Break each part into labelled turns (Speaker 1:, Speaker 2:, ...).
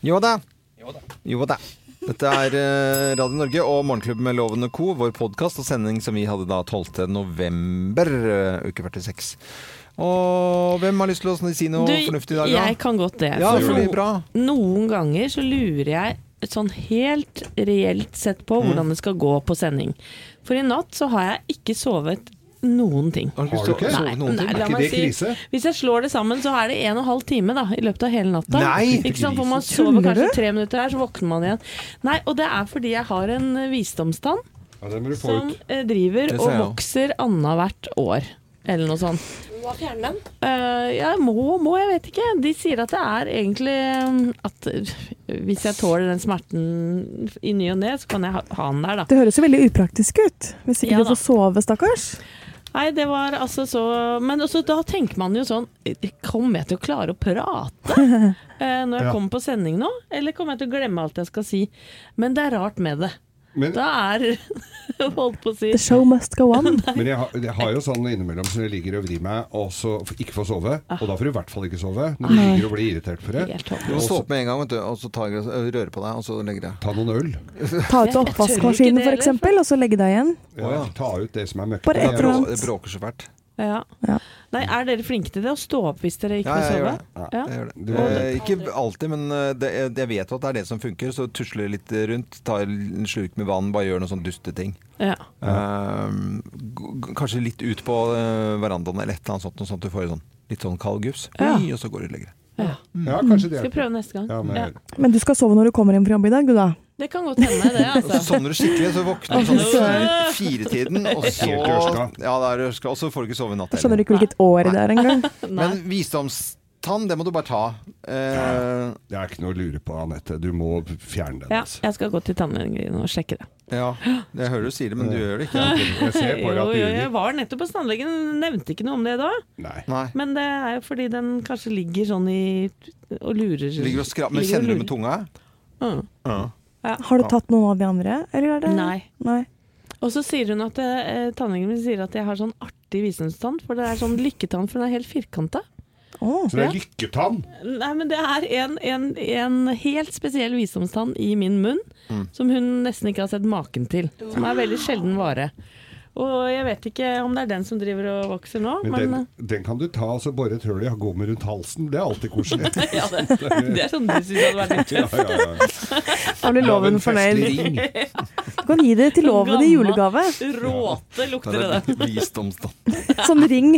Speaker 1: Jo da.
Speaker 2: Jo da.
Speaker 1: Jo da. Dette er eh, Radio Norge og Morgenklubben med Lovende Co., vår podkast og sending som vi hadde da 12. november, eh, uke 46. Og hvem har lyst til å si noe fornuftig i dag? da?
Speaker 3: jeg kan godt det.
Speaker 1: Ja,
Speaker 3: for
Speaker 1: for det
Speaker 3: no,
Speaker 1: blir bra.
Speaker 3: noen ganger så lurer jeg sånn helt reelt sett på
Speaker 1: Mm.
Speaker 3: hvordan det skal gå på sending. For i natt så har jeg ikke sovet noen ting.
Speaker 1: Har
Speaker 2: Har du ikke?
Speaker 1: ikke sovet noen
Speaker 3: nei,
Speaker 1: ting?
Speaker 3: la
Speaker 2: ikke
Speaker 3: meg
Speaker 2: det krise?
Speaker 3: Hvis jeg slår det sammen, så er det en og en halv time da, i løpet av hele natta.
Speaker 1: Nei,
Speaker 3: ikke sant? For man sover
Speaker 4: Tuller
Speaker 3: kanskje
Speaker 4: du?
Speaker 3: tre minutter her, så våkner man igjen. Nei, og det er fordi jeg har en eh, visdomstann
Speaker 2: Ja, det må du få
Speaker 3: som
Speaker 2: ut.
Speaker 3: eh, driver
Speaker 1: Det
Speaker 3: og
Speaker 1: ser jeg
Speaker 3: vokser annethvert år. Eller noe sånt.
Speaker 4: Du må fjerne den.
Speaker 3: Eh, ja, må, må, jeg vet ikke. De sier at det er egentlig mm, at eh, hvis jeg tåler den smerten i ny og ne, så kan jeg ha, ha den der, da.
Speaker 4: Det høres jo veldig upraktisk ut. Hvis ikke
Speaker 3: Ja
Speaker 4: du får sove, stakkars.
Speaker 3: Nei, det var altså så Men også, da tenker man jo sånn Kommer jeg til å klare å prate eh, når jeg
Speaker 2: Ja.
Speaker 3: kommer på sending nå? Eller kommer jeg til å glemme alt jeg skal si? Men det er rart med det.
Speaker 2: Men,
Speaker 3: Da er Holdt på å si
Speaker 4: The show must go on.
Speaker 2: men jeg, har, jeg har jo sånn innimellom som jeg ligger og vrir meg og så f- ikke får sove. Og da får du i hvert fall ikke sove. Når du
Speaker 3: Ah.
Speaker 2: ligger og blir irritert for det.
Speaker 3: Helt håpløst.
Speaker 1: Du må stå opp med en gang, vet du, og så tar jeg, røre på deg, og så legger jeg
Speaker 2: Ta noen øl.
Speaker 4: Ta ut
Speaker 3: Jeg- jeg tør ikke
Speaker 4: oppvaskmaskinen
Speaker 3: det heller,
Speaker 4: f.eks., og så legge deg igjen.
Speaker 2: Ja, ta ut det som er møkk.
Speaker 4: Bare
Speaker 1: Det
Speaker 4: et eller
Speaker 1: brå-
Speaker 4: annet.
Speaker 1: det bråker så fælt.
Speaker 3: Ja.
Speaker 4: Ja.
Speaker 3: Nei, er dere flinke til det? Å stå opp hvis dere ikke
Speaker 1: Ja,
Speaker 3: får
Speaker 1: jeg gjør
Speaker 3: sove?
Speaker 1: det.
Speaker 3: Ja.
Speaker 1: Jeg gjør det.
Speaker 2: Det var
Speaker 1: Eh, ikke alltid, men eh, det, jeg- jeg vet jo at det er det som funker. Så tusler jeg litt rundt, tar en slurk med vann, bare gjør noen sånn dusteting.
Speaker 3: Ja.
Speaker 1: Eh, g- g- kanskje litt ut på eh, verandaen eller et eller annet sånt, noe sånt at du får en sånn, litt sånn kald gufs.
Speaker 3: Ja.
Speaker 1: Oi, Og så går du og legger deg.
Speaker 3: ja.
Speaker 2: Ja, kanskje det
Speaker 3: Skal vi
Speaker 2: hjelper.
Speaker 3: prøve neste gang?
Speaker 2: Ja, men,
Speaker 3: Ja.
Speaker 4: Men du skal sove når du kommer hjem fra jobb i dag, du da.
Speaker 3: Det kan godt hende, det.
Speaker 1: Og så
Speaker 3: Altså.
Speaker 1: sovner du skikkelig, så våkner du sånn
Speaker 3: Åh.
Speaker 1: fire- firetiden, og så
Speaker 2: Helt ørska.
Speaker 1: Ja, det er ørska, og så får du ikke sove i natt
Speaker 4: Jeg skjønner
Speaker 1: heller.
Speaker 4: ikke hvilket år det er engang.
Speaker 3: Nei.
Speaker 1: Men visdomstann, det må du bare ta. Eh,
Speaker 2: Det er ikke noe å lure på, Anette. Du må fjerne den.
Speaker 3: Ja,
Speaker 2: altså.
Speaker 3: jeg skal gå til tannlegen og sjekke det.
Speaker 1: ja, jeg hører du sier det, men du gjør det ikke.
Speaker 2: Jeg ser på deg
Speaker 3: Jo,
Speaker 2: at du
Speaker 3: jo, jeg
Speaker 2: gjør
Speaker 3: var nettopp hos tannlegen, nevnte ikke noe om det da.
Speaker 2: Nei.
Speaker 1: Nei.
Speaker 3: Men det er jo fordi den kanskje ligger sånn i og lurer.
Speaker 1: Du Ligger og skrap, men
Speaker 3: Ligger og
Speaker 1: kjenner du
Speaker 3: lurer.
Speaker 1: med tunga?
Speaker 3: Mm.
Speaker 4: Har du tatt noen av de andre, eller er det
Speaker 3: Nei.
Speaker 4: Nei.
Speaker 3: Og så sier hun at eh, tannlegen min sier at jeg har sånn artig visdomstann, for det er sånn lykketann, for den er helt firkanta.
Speaker 4: Å,
Speaker 2: Så det er lykketann.
Speaker 3: Nei, men det er en, en, en helt spesiell visdomstann i min munn, som hun nesten ikke har sett maken til. Som er veldig sjelden vare. Og jeg vet ikke om det er den som driver og vokser nå,
Speaker 2: Men
Speaker 3: men,
Speaker 2: den, den kan du ta og så bore et hull i og gå med rundt halsen. Det er alltid koselig.
Speaker 3: ja, det, det er sånn du syns hadde vært litt
Speaker 2: Ja, ja, ja.
Speaker 4: Da blir
Speaker 2: Lave en
Speaker 4: loven fornøyd.
Speaker 2: festlig ring.
Speaker 4: Du kan gi det til loven i julegave.
Speaker 3: Råte
Speaker 1: Det
Speaker 3: lukter det
Speaker 1: er
Speaker 3: der.
Speaker 1: visdomstann.
Speaker 4: Sånn ring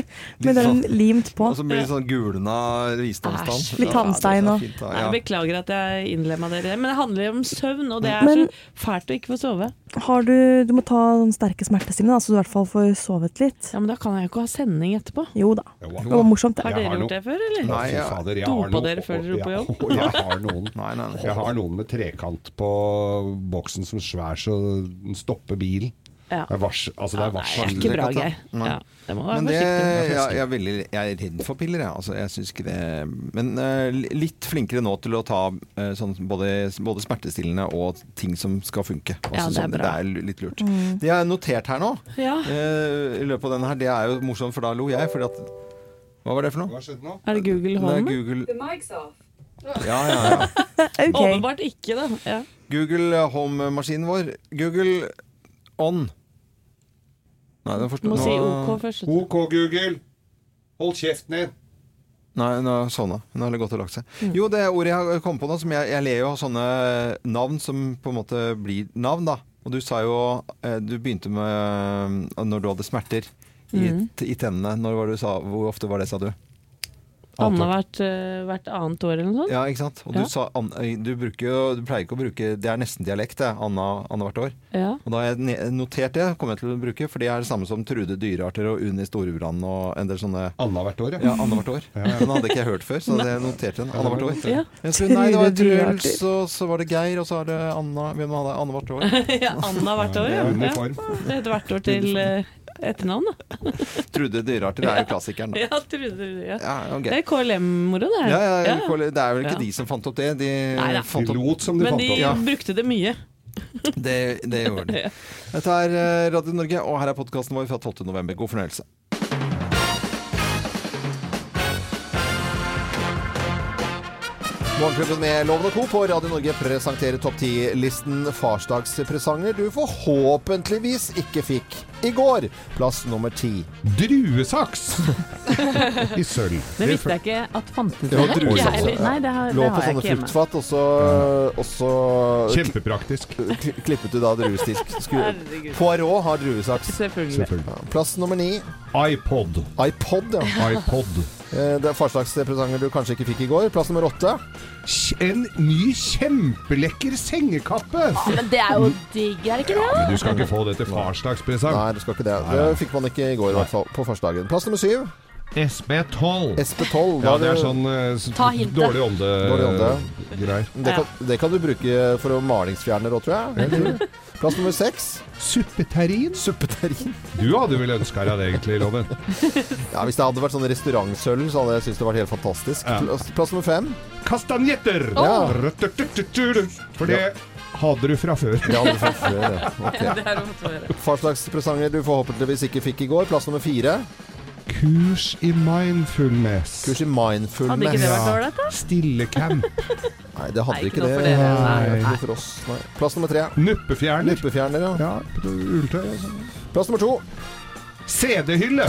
Speaker 4: med den limt på.
Speaker 1: Og
Speaker 2: Altså-
Speaker 1: så blir det sånn gulna visdomstann.
Speaker 3: Æsj,
Speaker 4: litt
Speaker 1: Ja, det er
Speaker 4: tannstein og-
Speaker 1: fint, da,
Speaker 3: Nei,
Speaker 1: ja.
Speaker 3: beklager at jeg innlemma dere i det, men det handler jo om søvn, og det er
Speaker 4: Men-
Speaker 3: så fælt å ikke få sove.
Speaker 4: Har du, du må ta sånn sterke smertestillende, da, så du i hvert fall får sovet litt.
Speaker 3: Ja, Men da kan jeg jo ikke ha sending etterpå.
Speaker 4: Jo da.
Speaker 2: Jo,
Speaker 4: Det var morsomt,
Speaker 3: Har
Speaker 2: Jeg
Speaker 4: det.
Speaker 3: dere
Speaker 2: har
Speaker 3: gjort
Speaker 2: noe-
Speaker 3: det før, eller?
Speaker 1: Nei,
Speaker 2: Fy
Speaker 1: jeg-
Speaker 2: fader, jeg har
Speaker 3: Dopa
Speaker 2: noen-
Speaker 3: dere før dere dro på
Speaker 2: jeg-
Speaker 3: jobb?
Speaker 2: Jeg har noen.
Speaker 1: Nei, nei, nei.
Speaker 2: Jeg har noen med trekant på boksen som svær så den stopper bilen.
Speaker 3: Ja.
Speaker 2: Det er vars, altså det
Speaker 3: Ja, nei,
Speaker 2: er
Speaker 3: det er
Speaker 2: varsel.
Speaker 3: ikke bra,
Speaker 1: Nei.
Speaker 3: Geir. Ja, det må være
Speaker 1: Men det,
Speaker 3: forsiktig.
Speaker 1: jeg, jeg, er veldig, jeg er redd for piller, jeg. Altså, jeg synes ikke det Men eh, li- litt flinkere nå til å ta eh, sånn, både, både smertestillende og ting som skal funke. Altså,
Speaker 3: Ja, det er
Speaker 1: sånn,
Speaker 3: bra. Mm.
Speaker 1: det er litt lurt. Det jeg har notert her nå,
Speaker 3: Ja.
Speaker 1: eh, i løpet av denne her, det er jo morsomt, for da lo jeg. Fordi at Hva var det for noe?
Speaker 2: Hva skjedde nå?
Speaker 3: Er det
Speaker 1: Det
Speaker 3: Google
Speaker 1: er
Speaker 3: Home?
Speaker 1: Google
Speaker 5: The mic's off.
Speaker 1: Ja, ja, ja.
Speaker 4: Ok.
Speaker 3: Åpenbart ikke, da. Ja.
Speaker 1: Google Home-maskinen vår. Google On. Nei, den forstår
Speaker 3: Må si
Speaker 1: nå-
Speaker 3: OK først. vet du.
Speaker 2: OK, Google! Hold kjeften din!
Speaker 1: Nei, nå sovna. Hun har gått og lagt seg. Jo, det ordet jeg kom på nå, som jeg, jeg ler jo av sånne navn som på en måte blir navn, da. Og du sa jo eh, Du begynte med eh, når du hadde smerter i, t- i tennene. Når var det du sa, hvor ofte var det, sa du?
Speaker 3: Annethvert eh, hvert annet år eller noe sånt?
Speaker 1: Ja, ikke sant? Og
Speaker 3: Ja.
Speaker 1: du sa an, eh, du, bruker jo, du pleier ikke å bruke Det er nesten dialekt, det. Anna- Annethvert år.
Speaker 3: Ja.
Speaker 1: Og da har jeg ne- notert det, kommer jeg til å bruke, for det er det samme som Trude Dyrearter og Unni Storebrand og en del sånne
Speaker 2: Annethvert år,
Speaker 1: Ja, annethvert år.
Speaker 2: Ja, ja.
Speaker 1: Den hadde ikke jeg hørt før, så jeg noterte den. Annethvert år.
Speaker 3: Ja.
Speaker 1: Jeg skulle, nei, det var
Speaker 4: Trude
Speaker 1: Truls,
Speaker 4: Dyrearter.
Speaker 1: og så var det Geir, og så er det Anna Hvem hadde annethvert år?
Speaker 3: ja Anna hvert år, ja.
Speaker 2: Ja,
Speaker 3: ja.
Speaker 2: Uniform.
Speaker 3: Det heter hvert år
Speaker 1: liksom-
Speaker 3: til eh, etternavn, da.
Speaker 1: Trude Dyrearter er jo klassikeren, da.
Speaker 3: Ja, Trude. Ja.
Speaker 1: Ja, ok.
Speaker 3: Det er KLM-moro, det. her.
Speaker 1: ja, ja,
Speaker 3: Ja.
Speaker 1: Kåre, det er vel ikke
Speaker 3: Ja.
Speaker 1: de som fant opp det. De
Speaker 3: Nei, da.
Speaker 2: De
Speaker 1: fant opp
Speaker 2: lot som de
Speaker 3: Men
Speaker 2: fant
Speaker 3: de
Speaker 2: opp.
Speaker 1: Ja.
Speaker 3: brukte det mye.
Speaker 1: det, det gjorde de. Dette er eh, Radio Norge, og her er podkasten vår fra 12. november. God fornøyelse. Morgenklubben med Loven og Co. på Radio Norge presenterer topp 10-listen farsdagspresanger du forhåpentligvis ikke fikk i går. Plass nummer ti.
Speaker 2: Druesaks i sølv.
Speaker 3: Det visste jeg ikke at fantes.
Speaker 1: Det var
Speaker 3: heller.
Speaker 1: druesaks,
Speaker 3: Ikke heller.
Speaker 1: ja.
Speaker 3: Nei, det har,
Speaker 1: Lå
Speaker 3: det
Speaker 1: på
Speaker 3: har jeg
Speaker 1: sånne
Speaker 3: ikke hjemme.
Speaker 1: fruktfat, og så, og så
Speaker 2: Kjempepraktisk.
Speaker 1: kli- klippet du da druestisk. Sku-
Speaker 3: Herregud.
Speaker 1: Poirot har druesaks.
Speaker 3: Selvfølgelig.
Speaker 2: Selvfølgelig.
Speaker 1: Plass nummer ni.
Speaker 2: iPod.
Speaker 1: iPod, ja.
Speaker 2: iPod.
Speaker 1: Eh, Det er farsdagspresanger du kanskje ikke fikk i går. Plass nummer åtte.
Speaker 2: En ny kjempelekker sengekappe!
Speaker 5: Men det er jo digg, er det ikke det?
Speaker 2: Men du skal ikke få det til farsdagspresang.
Speaker 1: Nei, du skal ikke det.
Speaker 2: Nei,
Speaker 1: Det
Speaker 2: nei.
Speaker 1: fikk man ikke i går, i hvert fall. På farsdagen. Plass nummer syv.
Speaker 2: SB12.
Speaker 1: SP12.
Speaker 2: Ja,
Speaker 1: da
Speaker 2: det er
Speaker 1: du-
Speaker 2: sånn eh, s-
Speaker 5: Ta hintet.
Speaker 2: dårlig ånde
Speaker 1: Dårlig ånde.
Speaker 2: eh, greier.
Speaker 1: Det kan, det kan du bruke for å malingsfjerne òg, tror jeg. Plass nummer seks.
Speaker 2: Suppeterrin.
Speaker 1: Suppeterrin.
Speaker 2: Du hadde vel ønska deg det egentlig, Loven.
Speaker 1: Ja, hvis det hadde vært sånn restaurantsølv, så hadde jeg syntes det vært helt fantastisk.
Speaker 2: Ja.
Speaker 1: Plass, plass nummer fem.
Speaker 2: Kastanjetter!
Speaker 1: Ja.
Speaker 2: Røttertuttutur. For det hadde du fra før.
Speaker 1: Det hadde du fått før, det. Ok.
Speaker 3: Det har du fått høre.
Speaker 1: Farsdagspresanger du forhåpentligvis ikke fikk i går. Plass nummer fire.
Speaker 2: Kurs i mindfulness.
Speaker 1: Kurs i
Speaker 3: Hadde ikke det
Speaker 1: mindfulness.
Speaker 3: vært ålreit, da?
Speaker 2: Stillecamp.
Speaker 1: Nei, det hadde
Speaker 3: Nei,
Speaker 1: ikke
Speaker 3: ikke noe
Speaker 1: det.
Speaker 3: for dere. Nei,
Speaker 1: Nei,
Speaker 2: nei.
Speaker 1: Ikke for oss. Nei. Plass nummer tre.
Speaker 2: Nuppefjerner.
Speaker 1: Nuppefjerner, ja.
Speaker 2: Ja, ulltøy. altså.
Speaker 1: Plass nummer to.
Speaker 2: CD-hylle!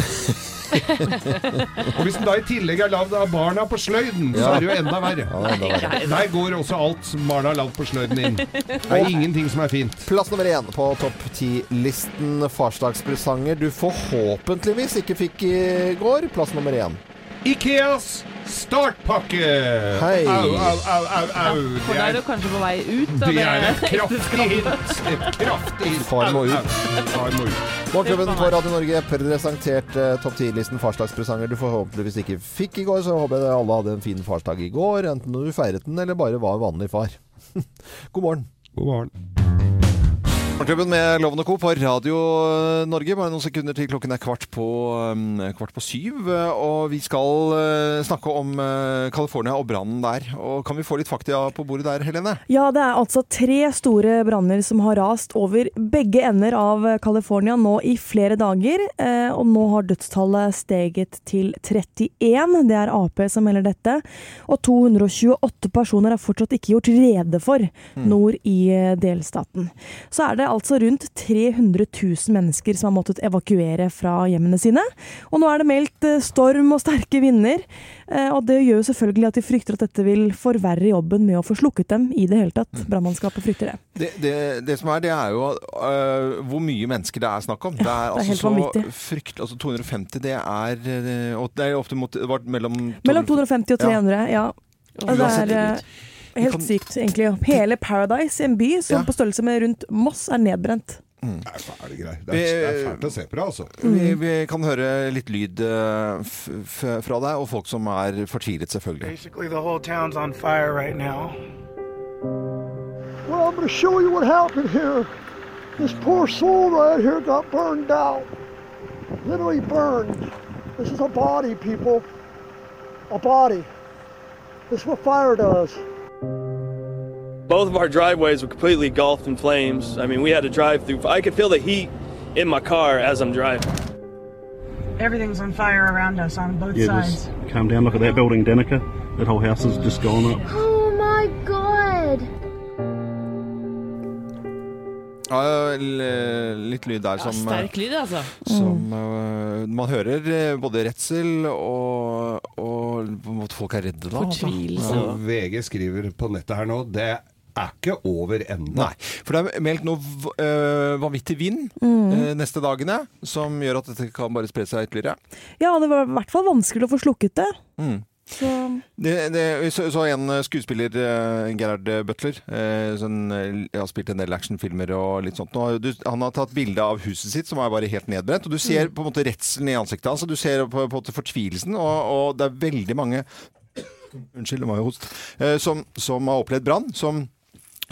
Speaker 2: Og hvis den da i tillegg er lagd av barna på sløyden, så
Speaker 1: Ja.
Speaker 2: er det jo enda
Speaker 1: Ja,
Speaker 2: verre.
Speaker 1: det er enda verre.
Speaker 2: Der går også alt som barna har lagd på sløyden inn. Det er ingenting som er fint.
Speaker 1: Plass nummer én på topp ti-listen farsdagspresanger du forhåpentligvis ikke fikk i går. Plass nummer én.
Speaker 2: Ikeas startpakke!
Speaker 1: Hei.
Speaker 2: Au, au, au, au, au.
Speaker 3: For da er du kanskje på vei ut av
Speaker 2: Det
Speaker 3: det
Speaker 2: er et kraftig
Speaker 3: ekteskapet.
Speaker 2: hint. Et kraftig hint.
Speaker 1: Far må
Speaker 2: Au,
Speaker 1: ut.
Speaker 2: au. Far må ut.
Speaker 1: Morgenklubben på Radio Norge presenterte eh, topp 10-listen farsdagspresanger du forhåpentligvis ikke fikk i går. Så håper jeg alle hadde en fin farsdag i går, enten du feiret den eller bare var vanlig far. God morgen.
Speaker 2: God morgen.
Speaker 1: Morgenklubben med Loven og Co. på Radio Norge. Bare noen sekunder til klokken er kvart på, um, kvart på syv. eh, Og vi skal eh, snakke om eh, California og brannen der. Og kan vi få litt fakta på bordet der, Helene?
Speaker 4: Ja, det er altså tre store branner som har rast over begge ender av California nå i flere dager. eh, Og nå har dødstallet steget til 31. Det er Ap som melder dette. Og 228 personer er fortsatt ikke gjort rede for nord i eh, delstaten. Så er det altså rundt 300 000 mennesker som har måttet evakuere fra hjemmene sine. Og nå er det meldt eh, storm og sterke vinder. Eh, Og det gjør jo selvfølgelig at de frykter at dette vil forverre jobben med å få slukket dem i det hele
Speaker 1: Mm.
Speaker 4: tatt. Brannmannskapet frykter det.
Speaker 1: Det, det, det som er, det er jo øh, hvor mye mennesker det er snakk om. Det er,
Speaker 4: det er helt
Speaker 1: altså så
Speaker 4: vanvittig.
Speaker 1: frykt, altså 250, det er øh, og Det er jo ofte mot, det var mellom,
Speaker 4: Mellom 250 og 300, ja. Og det
Speaker 1: Uansett,
Speaker 4: er eh,
Speaker 1: kan-
Speaker 4: helt sykt, egentlig. Hele Paradise, en by som
Speaker 1: Ja.
Speaker 4: på størrelse med rundt Moss, er nedbrent.
Speaker 2: Nei, hva er det greier? Det er, det er fælt å se på det, altså.
Speaker 1: vi, vi kan høre litt lyd øh, f f fra deg, og folk som er fortvilet, selvfølgelig.
Speaker 6: Basically, the whole town's on fire right now.
Speaker 7: Well, I'm going to show you what happened here. This poor soul right here got burned out. Literally burned. This is a body, people. A body. This is what fire does.
Speaker 8: Both of our driveways were completely engulfed in flames. I mean, we had to drive through. I could feel the heat in my car as I'm driving.
Speaker 9: Everything's on fire around us on both
Speaker 10: Yeah,
Speaker 9: sides.
Speaker 10: just calm down. Look at that building, Danica. That whole house is just gone up.
Speaker 5: Oh my god!
Speaker 1: Ja, l- øh, litt lyd der
Speaker 3: Ja,
Speaker 1: som, øh,
Speaker 3: sterk lyd, altså.
Speaker 1: som øh, Man hører øh, både redsel og, og på en måte folk er redde, da. altså.
Speaker 3: Fortvilelse.
Speaker 2: Og VG skriver på nettet her nå, det er ikke over ennå.
Speaker 1: Nei, for det er meldt noe v- øh, vanvittig vind øh, neste dagene, som gjør at dette kan bare spre seg ytterligere.
Speaker 4: Ja, det var i hvert fall vanskelig å få slukket det.
Speaker 1: Mm.
Speaker 4: Så
Speaker 1: Det, det, vi så, så en eh, skuespiller, eh, Gerhard Butler, eh, som eh, har spilt en del actionfilmer og litt sånt. Og du, han har tatt bilde av huset sitt, som er bare helt nedbrent. Og du ser på en måte redselen i ansiktet hans, og du ser på, på en måte fortvilelsen, og, og det er veldig mange Unnskyld, det var jo host. Eh, som, som har opplevd brann. som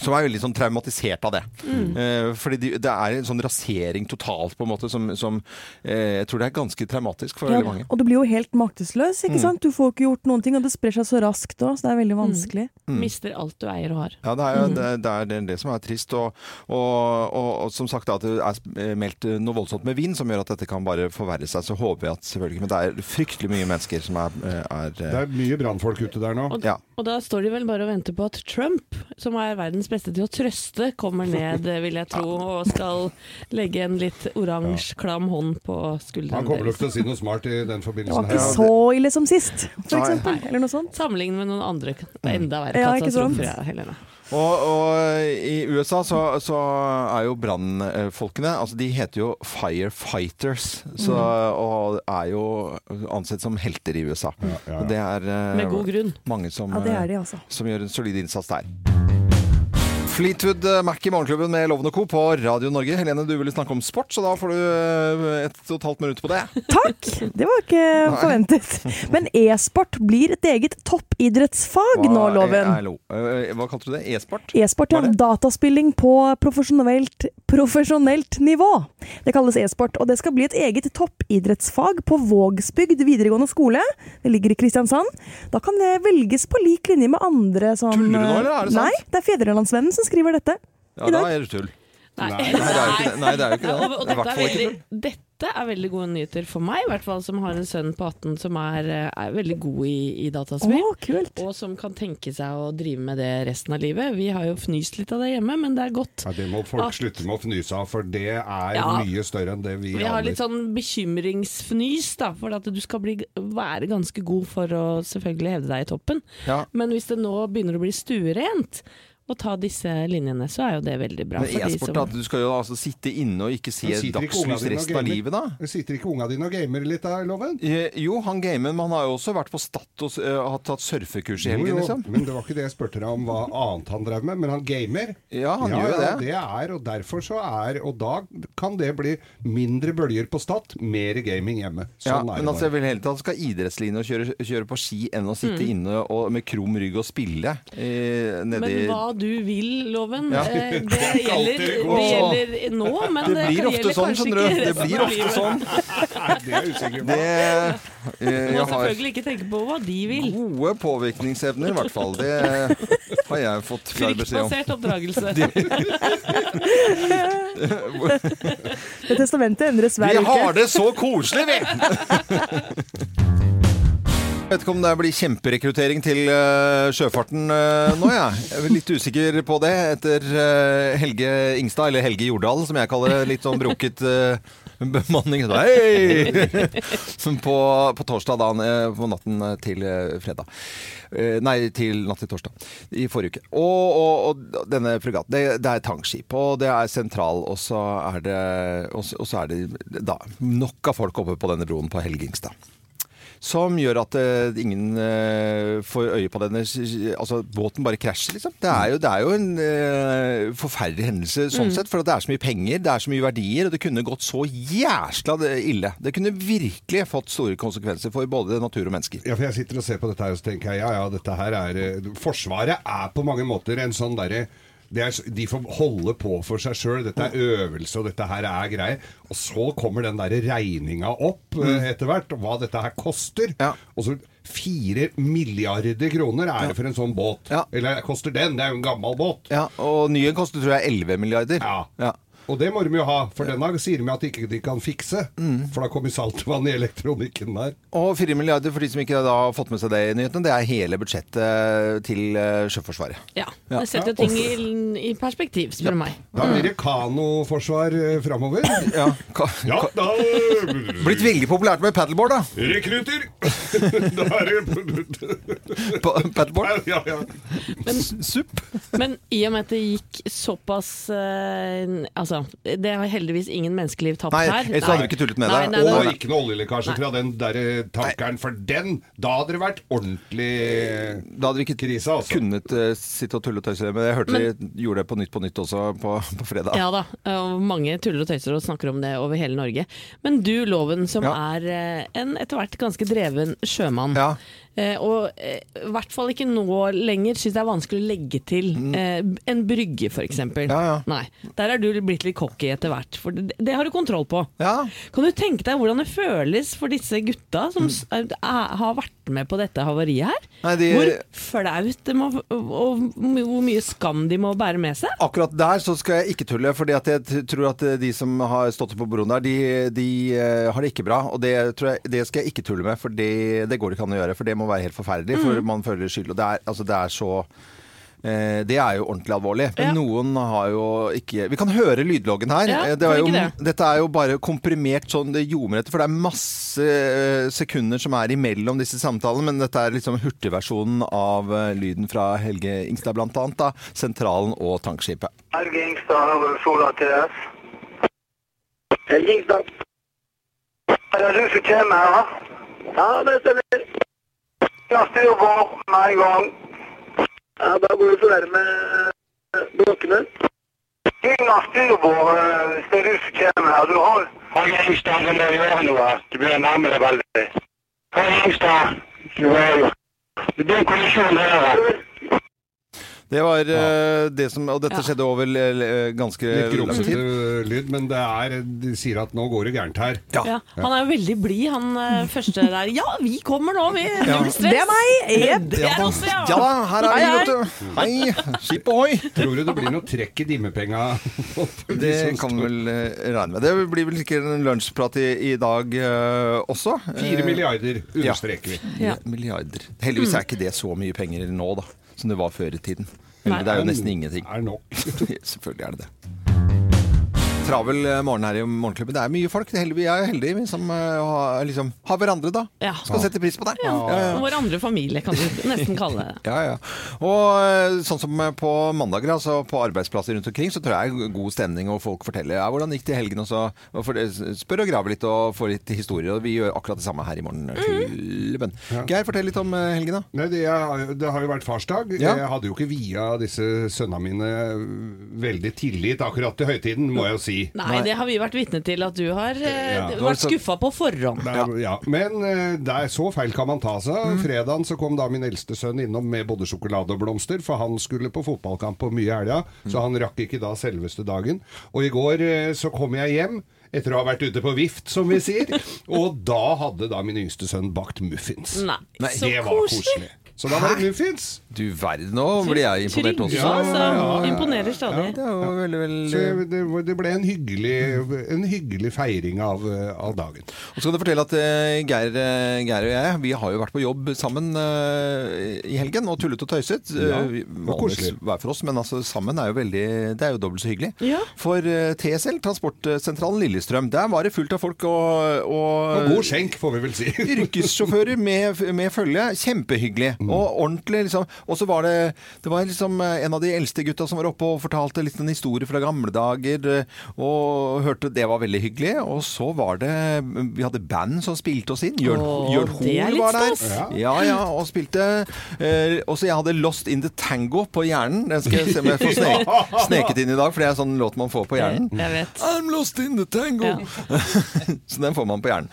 Speaker 1: Som er veldig sånn traumatisert av det.
Speaker 11: Mm.
Speaker 1: Eh, fordi de, det er en sånn rasering totalt, på en måte, som, som eh, jeg tror det er ganske traumatisk for
Speaker 4: Ja,
Speaker 1: veldig mange.
Speaker 4: og du blir jo helt maktesløs, ikke
Speaker 1: Mm.
Speaker 4: sant? Du får ikke gjort noen ting, og det sprer seg så raskt òg, så det er veldig vanskelig.
Speaker 1: Mm.
Speaker 3: Mister alt du eier og har.
Speaker 1: Ja, det er jo
Speaker 4: Mm.
Speaker 1: det, det, er det, det som er trist. Og, og, og, og som sagt, da, at det er sp- eh, meldt noe voldsomt med vind som gjør at dette kan bare forverre seg. Så håper jeg at selvfølgelig Men det er fryktelig mye mennesker som er, eh, er Det
Speaker 2: er mye brannfolk ute der nå.
Speaker 1: Ja.
Speaker 3: Og da står de vel bare og venter på at Trump, som er verdens beste til å trøste, kommer ned, vil jeg tro, og skal legge en litt oransje, klam hånd på skulderen
Speaker 2: Han kommer nok til å si noe smart i den
Speaker 4: Det var
Speaker 2: forbindelsen
Speaker 4: ikke
Speaker 2: her.
Speaker 4: så ille som sist, for
Speaker 1: Nei.
Speaker 4: eksempel. Eller noe sånt.
Speaker 3: Sammenlignet med noen andre. Det
Speaker 1: Mm.
Speaker 3: er enda verre
Speaker 4: Ja, ikke sant?
Speaker 3: katastrofer, ja, Helene.
Speaker 1: Og, og i USA så, så er jo brannfolkene Altså de heter jo firefighters. Så, og er jo ansett som helter i USA. Og Det er eh,
Speaker 3: Med god grunn.
Speaker 1: mange som,
Speaker 4: Ja, det er de,
Speaker 1: eh,
Speaker 4: altså.
Speaker 1: som gjør en solid innsats der. Fleetwood eh, Mac i Morgenklubben med Loven og Co. på Radio Norge. Helene, du ville snakke om sport, så da får du eh, et og et halvt minutt på det.
Speaker 4: Takk! Det var ikke forventet. Men e-sport blir et eget toppidrettsfag nå, Loven.
Speaker 1: Hallo. Eh, Hva kalte du det? E-sport?
Speaker 4: E-sport er dataspilling på profesjonelt, profesjonelt nivå. Det kalles e-sport, og det skal bli et eget toppidrettsfag på Vågsbygd videregående skole. Det ligger i Kristiansand. Da kan det velges på lik linje med andre som
Speaker 1: Tuller du nå, eller er det sant?
Speaker 4: Nei, det er Fedrelandsvennen som skriver dette.
Speaker 1: Ja, da er det tull.
Speaker 3: Nei.
Speaker 1: Nei, det er jo ikke det. Nei, det er jo ikke det.
Speaker 3: Og,
Speaker 1: I
Speaker 3: og
Speaker 1: hvert
Speaker 3: dette, er
Speaker 1: fall ikke
Speaker 3: veldig, dette er veldig gode nyheter for meg, i hvert fall som har en sønn på 18 som er, eh, er veldig god i, i dataspill.
Speaker 4: Å, kult.
Speaker 3: Og som kan tenke seg å drive med det resten av livet. Vi har jo fnyst litt av det hjemme, men det er godt.
Speaker 2: Ja, det må folk
Speaker 3: At-
Speaker 2: slutte med å fnyse av, for det er
Speaker 3: Ja.
Speaker 2: mye større enn det vi
Speaker 3: Vi har
Speaker 2: aner.
Speaker 3: litt sånn bekymringsfnys, da, for at du skal bli, være ganske god for å selvfølgelig hevde deg i toppen.
Speaker 1: Ja.
Speaker 3: Men hvis det nå begynner å bli stuerent å ta disse linjene, så er jo det veldig bra.
Speaker 1: Men
Speaker 3: for de
Speaker 1: e-sport,
Speaker 3: som-
Speaker 1: da, at du skal jo altså sitte inne og ikke se
Speaker 2: Men sitter ikke unga
Speaker 1: dagslys
Speaker 2: dine og
Speaker 1: resten av
Speaker 2: gamer?
Speaker 1: livet, da?
Speaker 2: Sitter ikke unga dine og gamer litt der, Loven?
Speaker 1: Eh, Jo, han gamer, men han har jo også vært på Stad og s- eh, hatt tatt surfekurs i
Speaker 2: Jo,
Speaker 1: helgen,
Speaker 2: jo,
Speaker 1: liksom.
Speaker 2: Men det var ikke det jeg spurte deg om hva annet han drev med, men han gamer.
Speaker 1: Ja, han gjør
Speaker 2: ja,
Speaker 1: det.
Speaker 2: det er, og derfor så er Og da kan det bli mindre bølger på Stad, mer gaming hjemme.
Speaker 1: Ja,
Speaker 2: Sånn er
Speaker 1: men
Speaker 2: det
Speaker 1: altså, jeg
Speaker 2: bare.
Speaker 1: vil heller at han skal ha idrettslinje og kjøre, kjøre på ski enn å sitte
Speaker 3: Mm.
Speaker 1: inne og, med krum rygg og spille eh, nedi
Speaker 3: Men hva du vil, Loven,
Speaker 1: Ja.
Speaker 3: eh, det,
Speaker 1: Det er ikke
Speaker 3: gjelder,
Speaker 1: alltid
Speaker 3: det
Speaker 1: det går.
Speaker 3: gjelder nå, men
Speaker 1: Det
Speaker 3: det,
Speaker 1: blir ofte
Speaker 3: gjelder
Speaker 1: sånn,
Speaker 3: kanskje
Speaker 1: skjønner du.
Speaker 3: ikke
Speaker 1: Det
Speaker 3: resten
Speaker 1: blir
Speaker 3: av
Speaker 1: ofte
Speaker 3: livet.
Speaker 1: sånn.
Speaker 2: Det er jeg usikker
Speaker 1: Det eh,
Speaker 3: Du må
Speaker 1: jeg har
Speaker 3: selvfølgelig ikke tenke på hva de vil.
Speaker 1: gode påvirkningsevner, i hvert fall. Det har jeg fått klar beskjed om.
Speaker 3: Fryktbasert oppdragelse.
Speaker 4: Det testamentet endres hver
Speaker 1: Vi
Speaker 4: uke.
Speaker 1: har det så koselig, vi! Jeg vet ikke om det blir kjemperekruttering til eh, sjøfarten eh, nå, jeg. jeg er litt usikker på det etter eh, Helge Ingstad, eller Helge Jordal, som jeg kaller det, litt sånn broket eh, bemanning. Så, Hei! Som på, på torsdag da, eh, på natten til eh, fredag. Eh, Nei, til natt til torsdag i forrige uke. Og, og, og denne fregatten, det, det er tankskip, og det er sentral, og så er det, og så, og så er det da, nok av folk oppe på denne broen på Helgingstad. Som gjør at eh, ingen eh, får øye på denne Altså, båten bare krasjer, liksom. Det er jo, det er jo en eh, forferdelig hendelse sånn
Speaker 11: Mm.
Speaker 1: sett, for at det er så mye penger, det er så mye verdier, og det kunne gått så jæsla ille. Det kunne virkelig fått store konsekvenser for både natur og mennesker.
Speaker 2: Ja, for jeg sitter og ser på dette her og så tenker jeg, ja ja, dette her er eh, Forsvaret er på mange måter en sånn derre det er, s- de får holde på for seg sjøl. Dette er øvelse, og dette her er greier. Og så kommer den derre regninga opp eh, etter hvert, og hva dette her koster. Og så fire milliarder kroner er det for en sånn båt. Eller koster den? Det er jo en gammel båt.
Speaker 1: Ja, Og nye koster tror jeg 11 milliarder.
Speaker 2: Ja. Og det må de jo ha, for denne sier de at de ikke de kan fikse. For da kommer saltvann i elektronikken der.
Speaker 1: Og 4 milliarder for de som ikke da har fått med seg det i nyhetene, det er hele budsjettet til eh, Sjøforsvaret.
Speaker 3: Ja, det setter ting i, i perspektiv, spør du meg.
Speaker 2: Da blir det kanoforsvar eh, framover.
Speaker 1: Ja,
Speaker 2: da eh,
Speaker 1: Blitt veldig populært med paddleboard, da.
Speaker 2: Rekrutter! da er det
Speaker 1: Paddleboard?
Speaker 2: Ja, ja.
Speaker 1: Supp.
Speaker 3: Men i og med at det gikk såpass eh, Altså, det har heldigvis ingen menneskeliv tapt
Speaker 2: Nei,
Speaker 3: her.
Speaker 2: ellers hadde vi ikke tullet med
Speaker 3: Nei,
Speaker 2: det.
Speaker 3: nei, nei,
Speaker 2: Og
Speaker 3: nei.
Speaker 2: ikke noe oljelekkasje
Speaker 3: Nei.
Speaker 2: fra den der eh, tankeren, for den Da hadde det vært ordentlig altså.
Speaker 1: Da hadde vi ikke kunnet eh, sitte og tulle og tøyse, men jeg hørte de gjorde det på Nytt på Nytt også på, på fredag.
Speaker 3: Ja da, og mange tuller og tøyser og snakker om det over hele Norge. Men du Loven, som er eh, en etter hvert ganske dreven sjømann. Eh, og eh, i hvert fall ikke nå lenger syns det er vanskelig å legge til
Speaker 2: Mm.
Speaker 3: eh, en brygge, f.eks. Nei. Der er du blitt litt cocky etter hvert, for det, det har du kontroll på. Kan du tenke deg hvordan det føles for disse gutta som s- er, er, har vært med på dette havariet her?
Speaker 1: Nei, de-
Speaker 3: Hvor flaut det må og hvor mye skam de må bære med seg?
Speaker 1: Akkurat der så skal jeg ikke tulle, fordi at jeg t- tror at eh, de som har stått på broen der, de, de eh, har det ikke bra. Og det, tror jeg, det skal jeg ikke tulle med, for det, det går det ikke an å gjøre. For det må være helt forferdelig, for
Speaker 11: Mm.
Speaker 1: man føler skyld. Og det er, altså, det er så eh, det er jo ordentlig alvorlig. Men noen har jo ikke Vi kan høre lydloggen her.
Speaker 11: Ja,
Speaker 1: Eh,
Speaker 11: kan
Speaker 1: er
Speaker 11: vi
Speaker 1: jo,
Speaker 11: ikke
Speaker 1: Dette er jo bare komprimert sånn det ljomer etter, for det er masse eh, sekunder som er imellom disse samtalene. Men dette er liksom hurtigversjonen av eh, lyden fra Helge Ingstad, blant annet. Da, sentralen og tankskipet.
Speaker 12: Helge Ingstad over Sola TS. Helge Ingstad. Er det du som kommer her? da? Ja, det stemmer. Ja, styrbord med en gang. Ja, da går vi for nærme blokkene. Unna styrbord, eh, hvis det er du som kommer her. Du har Helge Ingstad, du må gjøre noe. Du begynner å nærme deg veldig. Helge Ingstad, du er jo Det blir en kollisjon her.
Speaker 1: Det var eh, det som Og dette skjedde over eh, ganske
Speaker 2: Litt
Speaker 1: lang
Speaker 2: grumsete
Speaker 1: tid.
Speaker 2: lyd, men det er, eh, de sier at nå går det gærent her.
Speaker 3: Ja, han er jo veldig blid, han eh, første der. Ja, vi kommer nå, vi.
Speaker 2: Ja.
Speaker 3: Null stress.
Speaker 2: Det er meg. Jep.
Speaker 3: Det er oss, ja.
Speaker 2: Ja da,
Speaker 1: her er vi,
Speaker 3: Hei,
Speaker 1: vet du.
Speaker 3: hei.
Speaker 1: Hei, skip ohoi!
Speaker 2: Tror du det blir noe trekk i dimmepenga?
Speaker 1: Det kan vi vel eh, regne med. Det blir vel sikkert en lunsjprat i, i dag eh, også.
Speaker 2: Fire milliarder, understreker vi.
Speaker 1: Ja.
Speaker 2: Ja.
Speaker 1: Milliarder. Heldigvis er ikke det så mye penger nå, da, som det var før i tiden.
Speaker 2: Nei.
Speaker 1: Eller, det er jo
Speaker 2: Men
Speaker 1: nesten ingenting.
Speaker 2: Er nok.
Speaker 1: Selvfølgelig er det det. Travel eh, morgen her i Morgenklubben. Det er mye folk. Heldig, vi er jo heldige vi som eh, har, liksom, har hverandre, da.
Speaker 3: Ja.
Speaker 1: Skal sette pris på det.
Speaker 3: Ja. Vår andre familie, kan du nesten kalle det.
Speaker 1: Ja, ja. Og eh, sånn som eh, på mandager, altså på arbeidsplasser rundt omkring, så tror jeg det er god stemning, og folk forteller ja, hvordan gikk det i helgen, og så og for, spør og graver litt og får litt historier. Og vi gjør akkurat det samme her i morgenklubben. Geir, fortell litt om eh, helgen, da.
Speaker 2: Nei, det, er, det har jo vært farsdag.
Speaker 1: Ja.
Speaker 2: Jeg hadde jo ikke via disse sønnene mine veldig tillit akkurat til høytiden, må jeg jo si.
Speaker 3: Nei, det har vi vært vitne til at du har eh,
Speaker 2: Ja.
Speaker 3: vært skuffa på forhånd.
Speaker 2: Det er- ja. Men eh, det er så feil kan man ta seg.
Speaker 3: Mm.
Speaker 2: Fredagen så kom da min eldste sønn innom med både sjokolade og blomster, for han skulle på fotballkamp på mye i helga,
Speaker 3: Mm.
Speaker 2: så han rakk ikke da selveste dagen. Og i går eh, så kom jeg hjem. Etter å ha vært ute på vift, som vi sier. Og da hadde da min yngste sønn bakt muffins.
Speaker 3: Nei, så
Speaker 2: det var
Speaker 3: koselig.
Speaker 2: koselig. Så da var det muffins.
Speaker 1: Du verden, nå blir jeg imponert også.
Speaker 2: Trygve, altså. Ja, ja, ja.
Speaker 3: Imponerer stadig.
Speaker 1: Ja, det er jo veldig, veldig...
Speaker 2: Så jeg- det, var- det ble en hyggelig, en hyggelig feiring av, eh, av dagen.
Speaker 1: Og så kan jeg fortelle at eh, Geir, eh, Geir og jeg Vi har jo vært på jobb sammen eh, i helgen og tullet og tøyset.
Speaker 2: Ja,
Speaker 1: Eh, vi-
Speaker 2: det var
Speaker 1: vanligvis
Speaker 2: koselig.
Speaker 1: Hver for oss, men altså, sammen er jo veldig Det er jo dobbelt så hyggelig.
Speaker 3: Ja.
Speaker 1: For eh, TSL, Transportsentralen Lillestrøm, der var det fullt av folk og, og
Speaker 2: Og god skjenk, får vi vel si.
Speaker 1: Yrkessjåfører med, med følge, kjempehyggelig. Og ordentlig, liksom. Og så var det Det var liksom eh, en av de eldste gutta som var oppe og fortalte litt en historie fra gamle dager. eh, Og hørte Det var veldig hyggelig. Og så var det Vi hadde band som spilte oss inn. Jørn,
Speaker 11: Åh,
Speaker 1: Jørn
Speaker 11: det er
Speaker 1: Hoel
Speaker 11: litt
Speaker 1: var der.
Speaker 11: stas.
Speaker 1: Ja, ja, og spilte. Eh, og så jeg hadde Lost in the Tango på hjernen. Den skal jeg se om jeg får sne sneket inn i dag, for det er sånn låt man får på hjernen.
Speaker 3: Jeg vet.
Speaker 1: I'm lost in the tango. Så den får man på hjernen.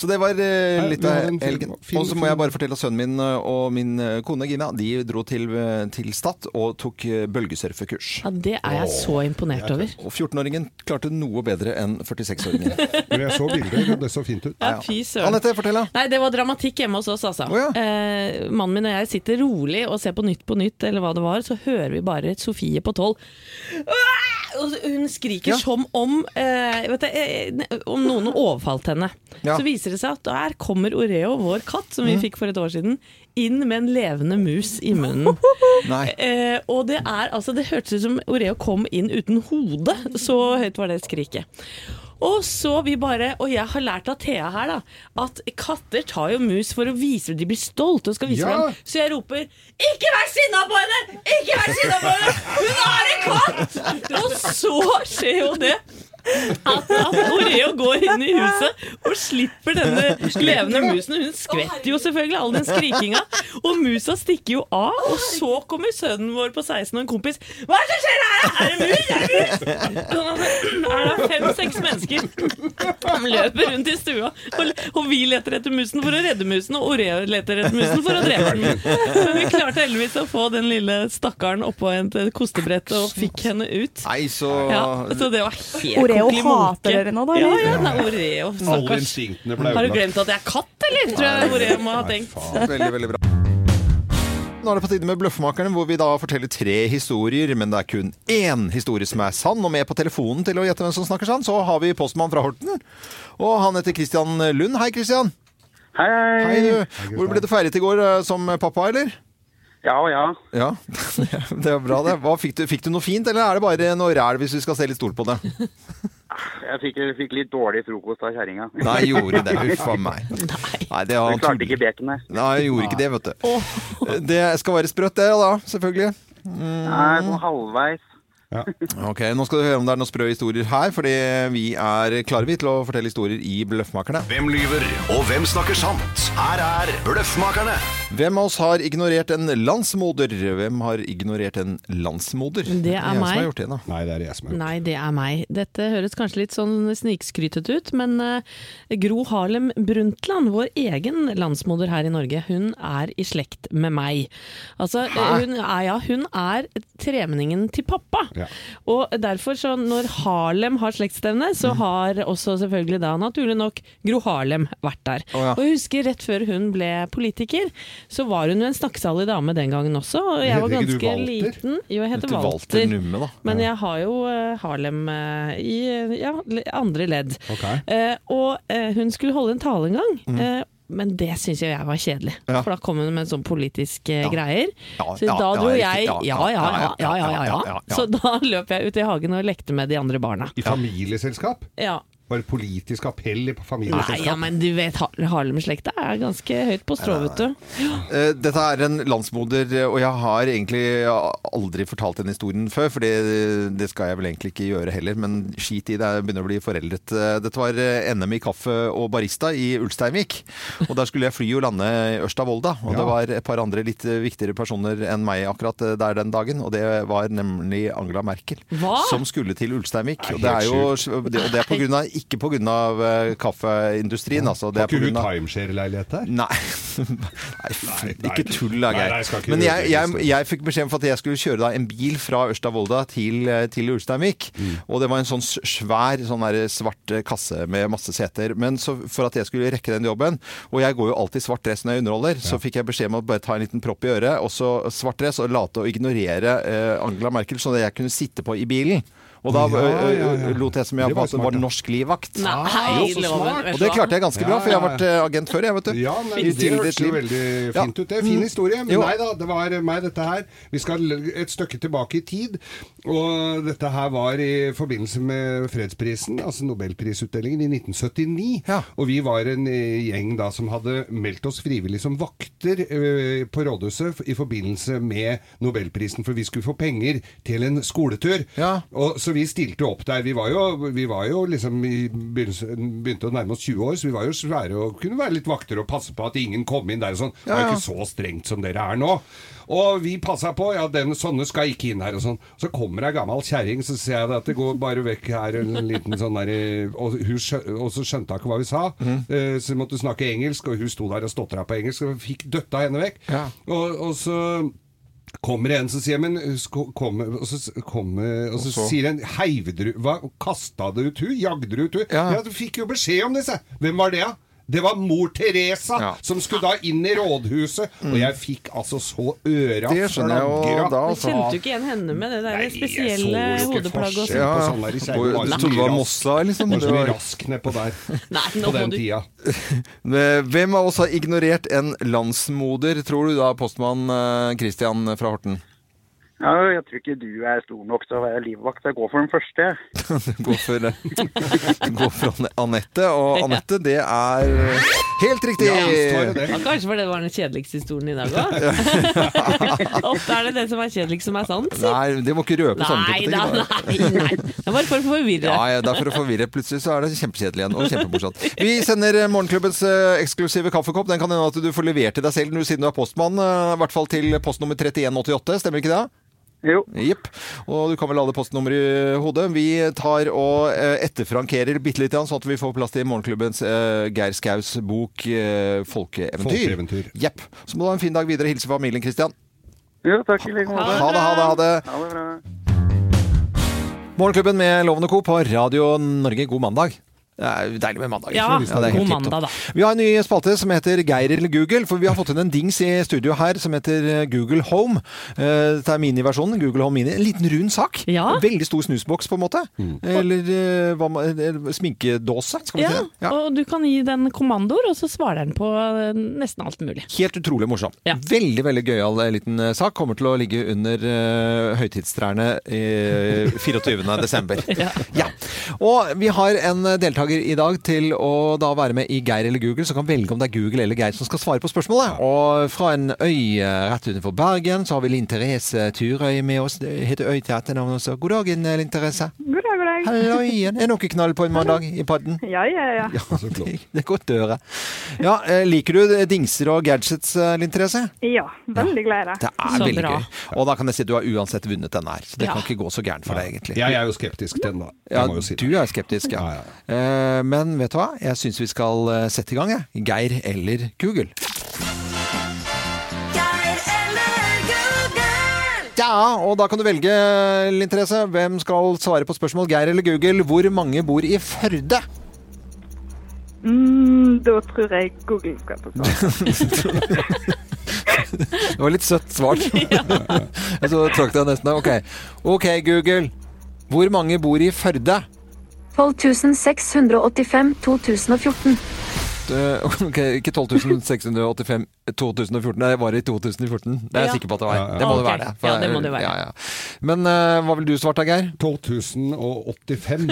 Speaker 1: Så det var eh, litt
Speaker 2: Ja,
Speaker 1: av
Speaker 2: den film-
Speaker 1: helgen.
Speaker 2: film-
Speaker 1: Og så må jeg bare fortelle at sønnen min eh, og min eh, kone Gina de dro til, eh, til Stad og tok eh, bølgesurfekurs.
Speaker 3: Ja, det er jeg så imponert over.
Speaker 1: Og 14-åringen klarte noe bedre enn 46-åringen.
Speaker 2: Men jeg så bilder, og det så fint ut.
Speaker 3: Ja, fy søren.
Speaker 1: Anette, fortell da.
Speaker 3: Nei, det var dramatikk hjemme hos oss, altså. eh, mannen min og jeg sitter rolig og ser på Nytt på Nytt, eller hva det var, så hører vi bare Sofie på tolv. Og hun skriker som om eh, vet du, eh, Om noen overfalt henne.
Speaker 11: Ja.
Speaker 3: Så viser det seg at der kommer Oreo, vår katt, som vi
Speaker 11: Mm.
Speaker 3: fikk for et år siden, inn med en levende mus i munnen.
Speaker 1: Nei.
Speaker 3: Eh, og det er altså Det hørtes ut som Oreo kom inn uten hode. Så høyt var det skriket. Og så vi bare, og jeg har lært av Thea her, da, at katter tar jo mus for å vise De blir stolte og skal vise
Speaker 11: Ja.
Speaker 3: dem. Så jeg roper 'Ikke vær sinna på henne! Ikke vær sinna på henne! Hun er en katt!' Og så skjer jo det. At, at Oreo går inn i huset og slipper denne levende musen. Hun skvetter jo selvfølgelig all den skrikinga. Og musa stikker jo av, og så kommer sønnen vår på 16 og en kompis. Hva er det som skjer her? Er det mus? Er det mus? Sånn at det Er da fem-seks mennesker som løper rundt i stua, og, og vi leter etter musen for å redde musen, og Oreo leter etter musen for å drepe den. Men vi klarte heldigvis å få den lille stakkaren oppå et kostebrett og fikk henne ut.
Speaker 1: Nei, så
Speaker 3: ja, Så det var helt
Speaker 4: Oreo
Speaker 3: ordentlig munke.
Speaker 4: hater dere nå, da,
Speaker 3: Ja,
Speaker 4: eller?
Speaker 3: ja, nei, Oreo,
Speaker 2: Alle
Speaker 3: stakkars.
Speaker 2: instinktene ble
Speaker 3: Har du
Speaker 2: ødelagt.
Speaker 3: glemt at jeg er katt, eller? Tror jeg Oreo må ha tenkt.
Speaker 1: Veldig, veldig bra. Nå er det på tide med Bløffmakerne, hvor vi da forteller tre historier, men det er kun én historie som er sann. Og med på telefonen til å gjette hvem som snakker sann, så har vi postmann fra Horten. Og han heter Christian Lund. Hei, Christian.
Speaker 11: Hei, hei.
Speaker 1: Hei, du. Hvor ble du feiret i går eh, som pappa, eller?
Speaker 11: Ja, ja.
Speaker 1: Ja, det er bra det. Hva, fikk, du, fikk du noe fint, eller er det bare noe ræl hvis vi skal se litt stort på det?
Speaker 11: Jeg fikk, jeg fikk litt dårlig frokost av kjerringa.
Speaker 1: Nei, gjorde det. Huff a meg. Nei, det
Speaker 11: Du klarte ikke bacon der.
Speaker 1: Nei, jeg gjorde ikke det, vet du. Det skal være sprøtt, det da, selvfølgelig. Mm.
Speaker 11: Nei, sånn halvveis.
Speaker 1: Ok, Nå skal du høre om det er noen sprø historier her, fordi vi er klare vi til å fortelle historier i Bløffmakerne.
Speaker 13: Hvem lyver, og hvem snakker sant? Her er Bløffmakerne.
Speaker 1: Hvem av oss har ignorert en landsmoder? Hvem har ignorert en landsmoder?
Speaker 3: Det er
Speaker 1: jeg som
Speaker 3: meg.
Speaker 1: har gjort det, da.
Speaker 2: Nei, det er jeg som
Speaker 3: Nei, det er meg. Dette høres kanskje litt sånn snikskrytete ut, men eh, Gro Harlem Brundtland, vår egen landsmoder her i Norge, hun er i slekt med meg. Altså, eh,
Speaker 14: Hæ?
Speaker 3: hun er, ja, hun er tremenningen til pappa. Og derfor, så når Harlem har slektsstevne, så har også selvfølgelig da naturlig nok Gro Harlem vært der.
Speaker 14: ja.
Speaker 3: Og jeg husker rett før hun ble politiker, så var hun jo en snakksalig dame den gangen også, og jeg var
Speaker 1: Heter ikke du
Speaker 3: ganske
Speaker 1: Walter?
Speaker 3: liten. Jo, jeg heter
Speaker 1: Heter
Speaker 3: Walter.
Speaker 1: Walter Numme, da.
Speaker 3: Men jeg har jo eh, Harlem eh, i eh, ja, le- andre ledd. Eh, og eh, hun skulle holde en tale en gang. eh, men det syns jeg var kjedelig,
Speaker 14: Mm. Ja.
Speaker 3: for da kom hun med sånn politiske
Speaker 14: Ja.
Speaker 3: greier.
Speaker 14: Ja,
Speaker 3: så
Speaker 14: ja,
Speaker 3: da dro
Speaker 14: ja,
Speaker 3: jeg ja
Speaker 14: riktig. Ja,
Speaker 3: ja ja,
Speaker 14: ja,
Speaker 3: ja, ja, ja,
Speaker 2: ja, ja, ja.
Speaker 3: Så da løp jeg ut i hagen og lekte med de andre barna.
Speaker 2: I familieselskap?
Speaker 3: Ja.
Speaker 2: Var det politisk appell i
Speaker 3: Nei,
Speaker 2: familieselskap?
Speaker 3: ja, men du vet, Har- Harlem-slekta er ganske høyt på strå, vet du.
Speaker 1: Eh, Dette er en landsmoder, og jeg har egentlig aldri fortalt den historien før, for det, det skal jeg vel egentlig ikke gjøre heller, men skit i det, jeg begynner å bli foreldet. Eh, Dette var eh, NM i kaffe og barista i Ulsteinvik, og der skulle jeg fly og lande i Ørsta-Volda, og det var et par andre litt eh, viktigere personer enn meg akkurat eh, der den dagen, og det var nemlig Angela Merkel,
Speaker 14: Hva?
Speaker 1: som skulle til Ulsteinvik.
Speaker 14: Nei,
Speaker 1: Og det er jo,
Speaker 14: helt
Speaker 1: og det og det er på grunn av, ikke på grunn av eh, kaffeindustrien, altså. Det
Speaker 2: Har
Speaker 1: er på
Speaker 2: ikke hun
Speaker 1: grunn av...
Speaker 2: timeshare-leilighet der?
Speaker 1: Nei. Nei,
Speaker 2: Nei,
Speaker 1: fy- ikke tull da,
Speaker 2: Nei, nei, jeg skal
Speaker 1: Geir.
Speaker 2: ikke
Speaker 1: Men
Speaker 2: gjøre
Speaker 1: jeg,
Speaker 2: det,
Speaker 1: jeg,
Speaker 2: Kristian.
Speaker 1: jeg fikk beskjed om at jeg skulle kjøre da en bil fra Ørsta-Volda til, eh, til Ulsteinvik.
Speaker 2: Mm.
Speaker 1: Og det var en sånn s- svær sånn der svart eh, kasse med masse seter. Men så, for at jeg skulle rekke den jobben, og jeg går jo alltid i svart dress når jeg underholder, så fikk jeg beskjed om å bare ta en liten propp i øret, og så svart dress, og late å ignorere eh, Angela Merkel, sånn at jeg kunne sitte på i bilen. Og da
Speaker 2: Ja,
Speaker 1: eh,
Speaker 2: ja, ja.
Speaker 1: lot jeg som jeg
Speaker 2: Det var
Speaker 1: var, var norsk livvakt.
Speaker 3: Nei, Ah, jo, så loven, smart.
Speaker 1: og
Speaker 3: vet du
Speaker 1: det
Speaker 3: hva?
Speaker 1: klarte jeg ganske bra, for jeg har vært eh, agent før, jeg, vet du.
Speaker 2: Ja, men
Speaker 1: I
Speaker 2: det
Speaker 1: tidligere
Speaker 2: hørtes jo
Speaker 1: liv.
Speaker 2: veldig
Speaker 1: Ja.
Speaker 2: fint ut. Det er en fin
Speaker 1: Mm.
Speaker 2: historie. Men
Speaker 1: Jo.
Speaker 2: nei da, det var meg, dette her. Vi skal et stykke tilbake i tid. Og dette her var i forbindelse med fredsprisen, altså nobelprisutdelingen i 1979. Og vi var en eh, gjeng da som hadde meldt oss frivillig som vakter eh, på rådhuset f- i forbindelse med nobelprisen, for vi skulle få penger til en skoletur. Og, så vi stilte opp der. Vi var jo, vi var jo liksom i begynnelsen- begynte å nærme oss 20 år, så vi var jo svære og kunne være litt vakter og passe på at ingen kom inn der og sånn. Det var
Speaker 1: Ja,
Speaker 2: jo
Speaker 1: ja.
Speaker 2: ikke så strengt som dere er nå. Og vi passa på, ja, den, sånne skal ikke inn her og sånn. Så kommer ei gammel kjerring, så ser jeg at det går bare vekk her en liten sånn der eh, Og, hun skjø, og så skjønte hun ikke hva vi sa,
Speaker 1: Mm.
Speaker 2: eh, så vi måtte snakke engelsk, og hun sto der og stotra på engelsk, og vi fikk døtta henne vekk. Og, og så kommer det en som sier Men husk å komme Og så, s- kommer- og så,
Speaker 1: Og så-
Speaker 2: sier en Heiv dere hva, Kasta dere ut hun? Jagde dere ut hun? Ja. du fikk jo beskjed om det, sa jeg. Hvem var det, da? Det var mor Teresa som skulle da inn i rådhuset. Og jeg fikk altså så øra
Speaker 1: Det skjønner jeg jo
Speaker 2: flagra.
Speaker 1: da,
Speaker 3: Jeg
Speaker 14: Altså-
Speaker 3: kjente jo ikke igjen henne med det der spesielle hodeplagget. og sånn.
Speaker 2: Ja,
Speaker 1: Ja,
Speaker 2: sånn der i
Speaker 1: ja. Og
Speaker 2: Sverige.
Speaker 1: Du trodde det var Mossa, liksom?
Speaker 2: Det var så mye
Speaker 1: Det var-
Speaker 2: rask nedpå der.
Speaker 3: Nei, nå
Speaker 2: på
Speaker 3: må
Speaker 2: den
Speaker 3: du-
Speaker 2: tida.
Speaker 1: Hvem av oss har ignorert en landsmoder, tror du da, postmann eh, Christian fra Horten?
Speaker 11: Ja, jeg tror ikke du er stor nok til å være livvakt. Jeg går for den første.
Speaker 1: Gå for, gå for Anne- Anette. Og Anette, det er helt riktig!
Speaker 3: Ja, kanskje fordi det var den kjedeligste historien i dag òg. Ofte er det det som er kjedeligst, som er sant. si.
Speaker 1: Nei, det må ikke røpe sånne
Speaker 3: Nei
Speaker 1: ting.
Speaker 3: da, nei, nei. Det er bare for å forvirre.
Speaker 1: Ja, ja, det er for å forvirre. Plutselig så er det kjempekjedelig igjen, og kjempemorsomt. Vi sender eh, morgenklubbens eh, eksklusive kaffekopp. Den kan hende at du får levert til deg selv nå siden du er postmann, eh, i hvert fall til postnummer 3188, stemmer ikke det?
Speaker 11: Jo.
Speaker 1: Jepp. Og du kan vel ha det postnummeret i hodet. Vi tar og eh, etterfrankerer bitte litt, sånn at vi får plass til morgenklubbens eh, Geir Skaus bok eh, 'Folkeeventyr'.
Speaker 2: Folkeeventyr.
Speaker 1: Jepp. Så må du ha en fin dag videre. Hilse familien, Kristian.
Speaker 11: Jo, takk i like måte.
Speaker 1: Ha det, ha det, ha det.
Speaker 11: Ha det bra.
Speaker 1: Morgenklubben med Lovende Co. på Radio Norge. God mandag. Det er jo deilig med mandag.
Speaker 3: Ja,
Speaker 1: det er helt
Speaker 3: god
Speaker 1: tipp topp.
Speaker 3: mandag, da.
Speaker 1: Vi har en ny spalte som heter Geir eller Google, for vi har fått inn en dings i studio her som heter Google Home. Eh, Dette er miniversjonen. Google Home Mini. En liten rund sak.
Speaker 3: Ja.
Speaker 1: Veldig stor snusboks, på en måte. Eller eh, hva, man- eller sminkedåse, skal vi
Speaker 3: Ja,
Speaker 1: si. det? Ja.
Speaker 3: og du kan gi den kommandoer, og så svarer den på eh, nesten alt mulig.
Speaker 1: Helt utrolig morsom. Veldig veldig gøyal eh, liten eh, sak. Kommer til å ligge under eh, høytidstrærne uh, 24. desember.
Speaker 3: Ja.
Speaker 1: Og vi har en deltaker i dag til å da være med i Geir eller Google, som kan velge om det er Google eller Geir som skal svare på spørsmålet. Og fra en øy eh, rett utenfor Bergen så har vi Linn Therese Turøy med oss. Det heter øy til etternavn også. God dagen, eh, Linn Therese.
Speaker 14: God dag, god dag.
Speaker 1: Hallo igjen. Er noe knall på en mandag i padden?
Speaker 14: Ja, ja, ja.
Speaker 1: Ja, det, det er godt å høre. Ja, eh, liker du dingser og gadgets, eh, Linn Therese?
Speaker 14: Ja, veldig glad i det.
Speaker 1: Det er veldig gøy. Og da kan jeg si at du har uansett vunnet denne her. Så det
Speaker 14: Ja.
Speaker 1: kan ikke gå så gærent for deg, egentlig.
Speaker 2: Jeg er jo skeptisk til den, da.
Speaker 1: Ja, du er skeptisk, ja. Eh, Men vet du hva? Jeg syns vi skal eh, sette i gang, jeg. Geir eller Google. Ja, og da kan du velge, Linn Therese. Hvem skal svare på spørsmål? Geir eller Google? Hvor mange bor i Førde?
Speaker 14: Mm, da tror jeg Google skal få svare.
Speaker 1: Det var litt søtt svart. Og så trakk jeg nesten av. Ok. ok, Google. Hvor mange bor i Førde?
Speaker 15: 12685 2014.
Speaker 1: Eh, Ok, Ikke 12.685 2014, nei, var det i 2014? Det er jeg
Speaker 15: Ja.
Speaker 1: sikker på at det var.
Speaker 2: Ja, ja.
Speaker 1: Det må
Speaker 2: Ah,
Speaker 1: det
Speaker 2: ok.
Speaker 1: være. det,
Speaker 2: Ja, det må det være.
Speaker 1: Ja, ja. Men eh, hva ville du svart da, Geir?
Speaker 2: 12.085,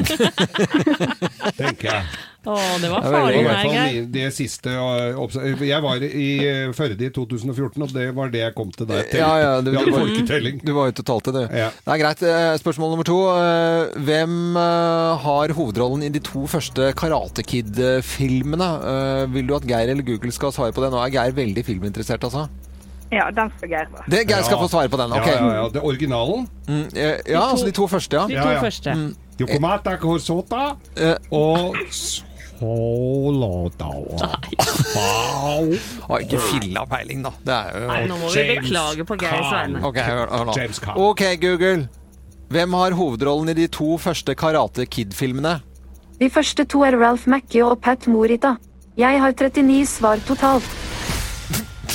Speaker 2: tenker jeg.
Speaker 3: Å, det var
Speaker 2: Det var
Speaker 3: farlig,
Speaker 2: i hvert
Speaker 3: nei,
Speaker 2: fall
Speaker 3: Geir.
Speaker 2: i- Det siste øh, obs- Jeg var i øh, Førde i 2014, og det var det jeg kom til der til.
Speaker 1: Ja, ja,
Speaker 2: Vi hadde folketelling.
Speaker 1: du var ute og talte, du. Det er greit. Eh, Spørsmål nummer to. Eh, Hvem eh, har hovedrollen i de to første Karate Kid-filmene? Eh, Vil du at Geir eller Google skal svare på det? Nå er Geir veldig filminteressert, altså.
Speaker 14: Ja, den skal Geir få.
Speaker 1: Det, Geir skal
Speaker 2: Ja.
Speaker 1: få svare på den. ok.
Speaker 2: Ja, ja, ja. Det er originalen?
Speaker 1: Mm, eh, ja, altså de to første, ja.
Speaker 2: De to Ja, ja. første. Yokomata Kosota
Speaker 1: Eh.
Speaker 2: og Solodao.
Speaker 1: Har ikke filla peiling, da. Det er jo
Speaker 3: Nei, nå må vi James beklage på Geirs Caan. vegne.
Speaker 1: Ok, hør, hør nå.
Speaker 2: James Caan.
Speaker 1: Ok, Google. Hvem har hovedrollen i de to første Karate Kid-filmene?
Speaker 15: De første to er Ralph Mackie og Pat Morita. Jeg har 39 svar totalt.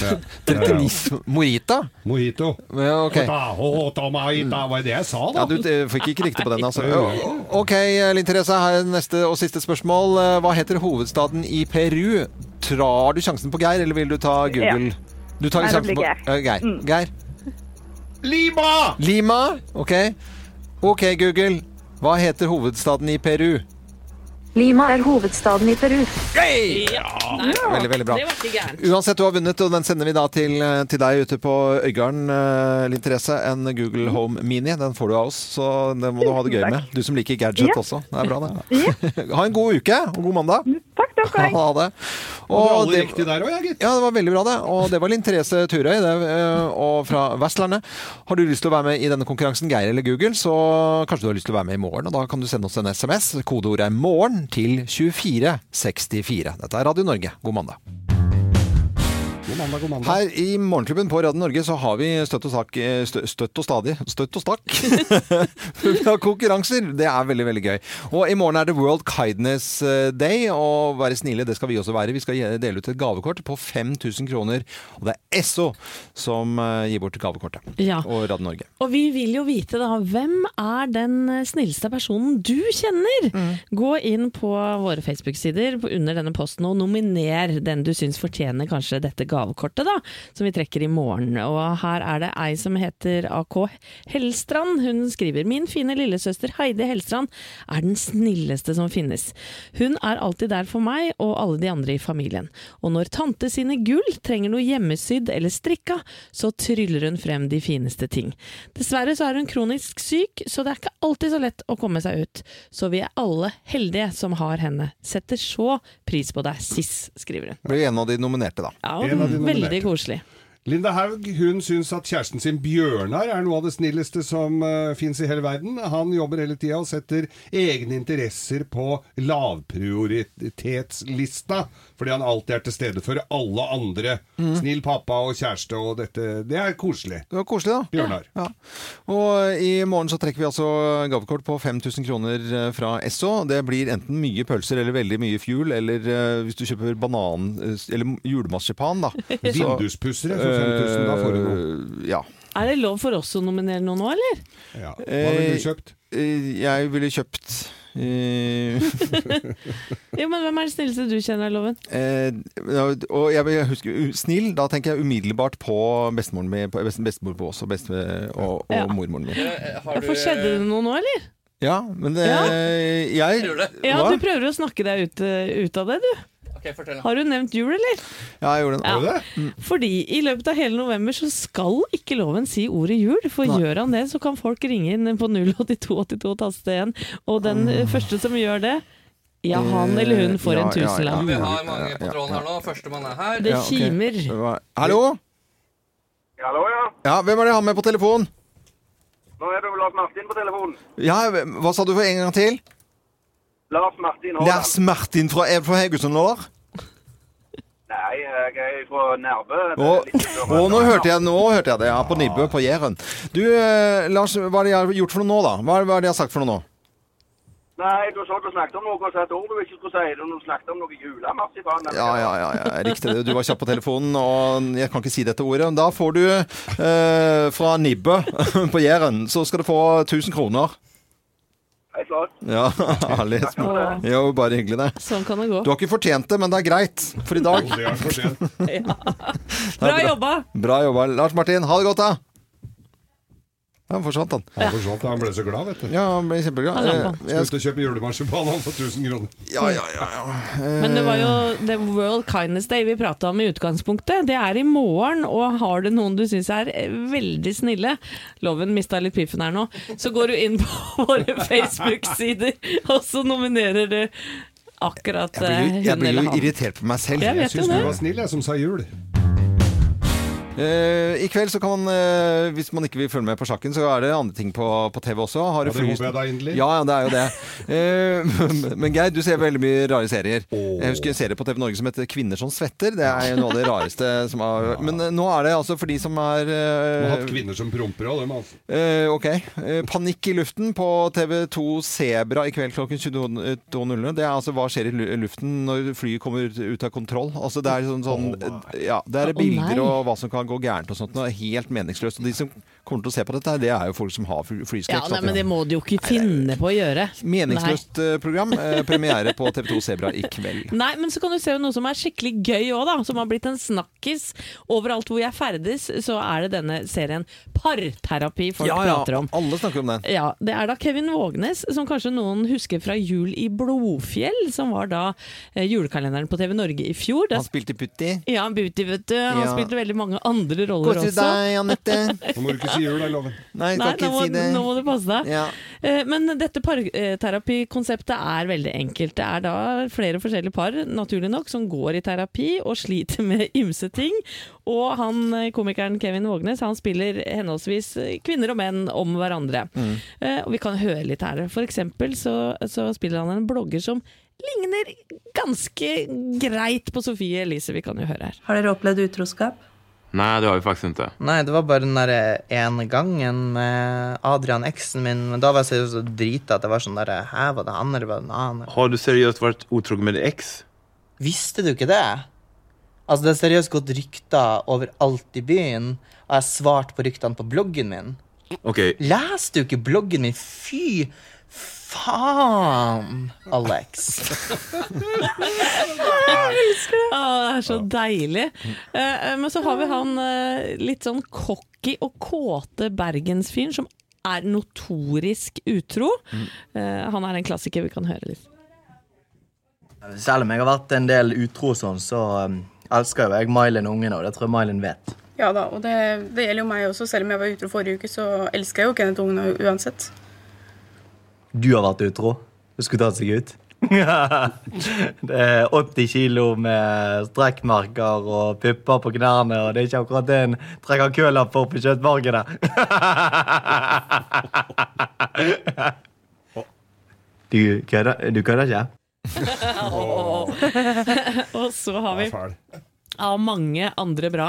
Speaker 1: 39 Morita?
Speaker 2: Mojito.
Speaker 1: Ja, ok.
Speaker 2: Otaho, otomaita, Var det det jeg sa, da?
Speaker 1: Eh. Ja, du eh, fikk ikke riktig på den, altså.
Speaker 2: Nei.
Speaker 1: Ja. Ok, Linn Therese, her er neste og siste spørsmål. Eh, Hva heter hovedstaden i Peru? Trar du sjansen på Geir, eller vil du ta Google?
Speaker 2: Ja.
Speaker 1: Du tar
Speaker 2: Nei, det
Speaker 1: sjansen
Speaker 2: blir
Speaker 1: på
Speaker 2: Geir.
Speaker 1: Ja, Geir.
Speaker 2: Mm.
Speaker 1: Geir.
Speaker 2: Lima!
Speaker 1: Lima, ok. Ok, Google. Hva heter hovedstaden i Peru?
Speaker 15: Lima er hovedstaden i Peru.
Speaker 1: Veldig, veldig bra.
Speaker 15: Det var ikke gærent.
Speaker 1: Uansett, du har vunnet, og den sender vi da til, til deg ute på Øygarden, eh, Linn Therese. En Google Home Mini. Den får du av oss, så det må du ha det gøy
Speaker 14: Tusen takk.
Speaker 1: med. Du som liker gadget
Speaker 14: Ja.
Speaker 1: også. Det er bra, det. ha en god uke, og god mandag.
Speaker 14: Mm,
Speaker 1: Takk, takk. Ha det.
Speaker 2: Og du hadde riktig der også, jeg, gitt.
Speaker 1: Ja, det var veldig bra, det. Og det var Linn Therese Turøy, det, eh, og fra Vestlandet. Har du lyst til å være med i denne konkurransen, Geir eller Google, så kanskje du har lyst til å være med i morgen. Og da kan du sende oss en SMS. Kodeordet er 'morgen' til 2464. Dette er Radio Norge. God mandag.
Speaker 2: God mandag, god mandag.
Speaker 1: Her i Morgenklubben på Radio Norge så har vi støtt og, stak, eh, stø- støtt og stadig Støtt og stakk! vi har konkurranser! Det er veldig, veldig gøy. Og i morgen er det World Kindness eh, Day, og være snille, det skal vi også være. Vi skal gi- dele ut et gavekort på 5000 kroner, og det er Esso som eh, gir bort gavekortet.
Speaker 3: Ja.
Speaker 1: Og Radio Norge.
Speaker 3: Og vi vil jo vite da, hvem er den snilleste personen du kjenner? Gå inn på våre Facebook-sider på- under denne posten og nominer den du syns fortjener kanskje dette gavekortet, da, som vi trekker i morgen. Og her er det ei som heter AK Hellstrand. Hun skriver Min fine lillesøster Heidi Hellstrand er den snilleste som finnes. Hun er alltid der for meg og alle de andre i familien. Og når tante sine gull trenger noe hjemmesydd eller strikka, så tryller hun frem de fineste ting. Dessverre så er hun kronisk syk, så det er ikke alltid så lett å komme seg ut. Så vi er alle heldige som har henne. Setter så pris på deg, Siss, skriver hun.
Speaker 1: Blir en av de nominerte, da.
Speaker 3: Ja,
Speaker 2: En av de nominerte.
Speaker 3: veldig koselig.
Speaker 2: Linda Haug hun syns at kjæresten sin Bjørnar er noe av det snilleste som uh, fins i hele verden. Han jobber hele tida og setter egne interesser på lavprioritetslista, fordi han alltid er til stede for alle andre.
Speaker 1: Mm.
Speaker 2: Snill pappa og kjæreste og dette. Det er koselig.
Speaker 1: Det var koselig, da.
Speaker 2: Bjørnar.
Speaker 1: Ja. Og eh, i morgen så trekker vi altså gavekort på 5000 kroner eh, fra Esso. Det blir enten mye pølser eller veldig mye fuel, eller eh, hvis du kjøper banan... eh, Eller julemarsipan, da.
Speaker 2: Vinduspusser, for 5000, da får du
Speaker 1: noe. Ja.
Speaker 3: Er det lov for oss å nominere noen nå, eller?
Speaker 2: Hva ville du kjøpt?
Speaker 1: Eh, Jeg ville kjøpt eh,
Speaker 3: Jo, men Hvem er det snilleste du kjenner, Loven?
Speaker 1: Eh, ja, og jeg, vil huske u- snill, da tenker jeg umiddelbart på bestemoren min, på- best- bestemor på også, beste, og, og
Speaker 3: Ja.
Speaker 1: mormoren min.
Speaker 3: Ja, For
Speaker 2: eh,
Speaker 3: skjedde det noe nå, eller?
Speaker 1: Ja, men det,
Speaker 3: Ja.
Speaker 1: jeg
Speaker 3: Ja,
Speaker 1: Hva?
Speaker 3: du prøver å snakke deg ut, eh, ut av det, du. Har du nevnt jul, eller?
Speaker 1: Ja, jeg gjorde det.
Speaker 3: Ja. Fordi i løpet av hele november så skal ikke loven si ordet jul, for
Speaker 1: Nei.
Speaker 3: gjør han det, så kan folk ringe inn på 08282 taste 1, og den eh, første som gjør det, ja, han eller hun får
Speaker 1: Ja,
Speaker 3: en
Speaker 1: Ah. Eh, ja, ja.
Speaker 3: tusenlapp.
Speaker 16: Vi har mange på
Speaker 1: Ja,
Speaker 16: tråden her nå. Førstemann er her.
Speaker 1: Ja, ok. Det var- Hallo?
Speaker 12: Hallo, ja.
Speaker 1: Ja, hvem er det jeg har med på telefon?
Speaker 12: Nå er det jo Lars Martin på telefonen.
Speaker 1: Ja, hvem- hva sa du for en gang til?
Speaker 12: Lars Martin Haaland.
Speaker 1: Lars Martin fra, er du fra Haugesund, eller?
Speaker 12: Nei, jeg er fra Nærbø.
Speaker 1: Å, å, nå hørte jeg nå hørte jeg det, ja. På Nibbø, på Jæren. Du, eh, Lars, hva er det jeg har gjort for noe nå, da? Hva er hva er det jeg har sagt for noe nå?
Speaker 12: Nei, du sa du snakket om noe og sa et ord du ikke skulle si. Du snakket om noe julemarsipan.
Speaker 1: Ja, ja, ja, ja, jeg likte det. Du var kjapp på telefonen, og jeg kan ikke si dette ordet. Men Da får du, eh, fra Nibbø på Jæren, så skal du få 1000 kroner.
Speaker 12: Hei, Lars.
Speaker 1: Ja, herlig. Jo, bare hyggelig, det.
Speaker 3: Sånn kan det gå.
Speaker 1: Du har ikke fortjent det, men det er greit for i dag.
Speaker 2: Det er for sent.
Speaker 3: Bra jobba!
Speaker 1: Bra jobba, Lars Martin. Ha det godt, da. Ja, Han forsvant, han.
Speaker 2: Han forsvant, han ble så glad, vet du.
Speaker 1: Ja, han ble kjempeglad. Eh,
Speaker 2: Skal
Speaker 1: jeg- Sånn
Speaker 2: ut og kjøpe julemarsipan han, for 1000 kroner.
Speaker 1: Ja, ja, ja.
Speaker 3: Men det var jo
Speaker 1: Eh.
Speaker 3: The World Kindness Day vi prata om i utgangspunktet. Det er i morgen, og har du noen du syns er eh, veldig snille Loven mista litt piffen her nå. Så går du inn på våre Facebook-sider, og så nominerer du akkurat
Speaker 1: Jeg blir,
Speaker 3: eh,
Speaker 1: jo, jeg
Speaker 3: hun
Speaker 1: blir
Speaker 3: eller
Speaker 1: jo
Speaker 3: han.
Speaker 1: irritert på meg selv.
Speaker 3: Jeg vet Jeg synes jo det. du var
Speaker 2: snill, jeg, som sa jul.
Speaker 1: I kveld så kan man, eh, hvis man ikke vil følge med på sjakken, så er det andre ting på, på TV også. Har du
Speaker 2: Ja, det
Speaker 1: fryst-
Speaker 2: håper jeg da inderlig.
Speaker 1: Ja, ja, det er jo det. Eh, men Geir, du ser veldig mye rare serier. Jeg husker en serie på TV Norge som heter 'Kvinner som svetter'. Det er jo noe av det rareste som har Men eh, nå er det altså for de som er
Speaker 2: Du
Speaker 1: eh,
Speaker 2: har hatt kvinner som promper og dem, altså.
Speaker 1: Eh, ok. Eh, panikk i luften på TV2 Sebra i kveld klokken 22.00. Det er altså hva skjer i lu- luften når flyet kommer ut- ut av kontroll. Altså det er sånn, sånn ja, Det er
Speaker 2: Å,
Speaker 1: bilder
Speaker 2: nei.
Speaker 1: og hva som kan gå gærent og sånt. Det er helt meningsløst. Og de som kommer til å se på dette, her, det er jo folk som har fly- flyskrekk.
Speaker 3: Ja,
Speaker 1: sant?
Speaker 3: nei, men det må du jo ikke finne på å gjøre.
Speaker 1: Meningsløst eh, program. Eh, premiere på TV2 Sebra i kveld.
Speaker 3: Nei, men så kan du se noe som er skikkelig gøy òg, da. Som har blitt en snakkis. Overalt hvor jeg ferdes, så er det denne serien Parterapi folk
Speaker 1: ja, ja,
Speaker 3: prater om.
Speaker 1: alle snakker om den.
Speaker 3: Ja, Det er da Kevin Vågenes, som kanskje noen husker fra Jul i Blodfjell, som var da eh, julekalenderen på TV Norge i fjor. Der
Speaker 1: Han spilte Putti.
Speaker 3: ja, han Beauty, vet du. Han
Speaker 1: Ja.
Speaker 3: spilte veldig mange andre roller
Speaker 1: Koser du
Speaker 3: også.
Speaker 1: deg, Anette?
Speaker 2: Nå må du ikke si jul, da, Loven.
Speaker 1: Nei,
Speaker 3: Nei,
Speaker 1: jeg
Speaker 3: nå
Speaker 1: kan
Speaker 3: må,
Speaker 1: ikke si det.
Speaker 3: nå må du passe deg.
Speaker 1: Ja.
Speaker 3: Eh, Men dette parterapikonseptet er veldig enkelt. Det er da flere forskjellige par, naturlig nok, som går i terapi og sliter med ymse ting. Og han, eh, komikeren Kevin Vågnes han spiller henholdsvis eh, kvinner og menn om hverandre.
Speaker 17: Mm.
Speaker 3: Eh, Og vi kan høre litt her. For eksempel så, så spiller han en blogger som ligner ganske greit på Sofie Elise. Vi kan jo høre her.
Speaker 18: Har dere opplevd utroskap?
Speaker 19: Nei, det har vi faktisk ikke.
Speaker 18: Nei, det var bare den der ene gangen med Adrian, eksen min. Men da var jeg seriøst så drita at jeg var sånn der Hæ, var det han, eller var det en annen?
Speaker 19: Har du seriøst vært utro med din eks?
Speaker 18: Visste du ikke det? Altså, det er seriøst gått rykter overalt i byen, og jeg svarte på ryktene på bloggen min.
Speaker 19: Ok,
Speaker 18: Leste du ikke bloggen min? Fy Faen, Alex.
Speaker 3: Jeg elsker det! Å, det er så deilig. Eh, eh, men så har vi han eh, litt sånn cocky og kåte bergensfyren som er notorisk utro. Eh, han er en klassiker vi kan høre litt.
Speaker 18: Selv om jeg har vært en del utro og sånn, så um, elsker jo jeg Mylin og ungene, og det tror jeg Mylin vet.
Speaker 16: Ja da, og det, det gjelder jo meg også. Selv om jeg var utro forrige uke, så elsker jeg jo Kenneth Ungen u- uansett.
Speaker 18: Du har vært utro. Du skulle tatt seg ut. det er 80 kilo med strekkmerker og pupper på knærne, og det er ikke akkurat det en trekker kølapp for på kjøttmarkedet. du kødder du kødder ikke?
Speaker 3: og så har vi av mange andre bra.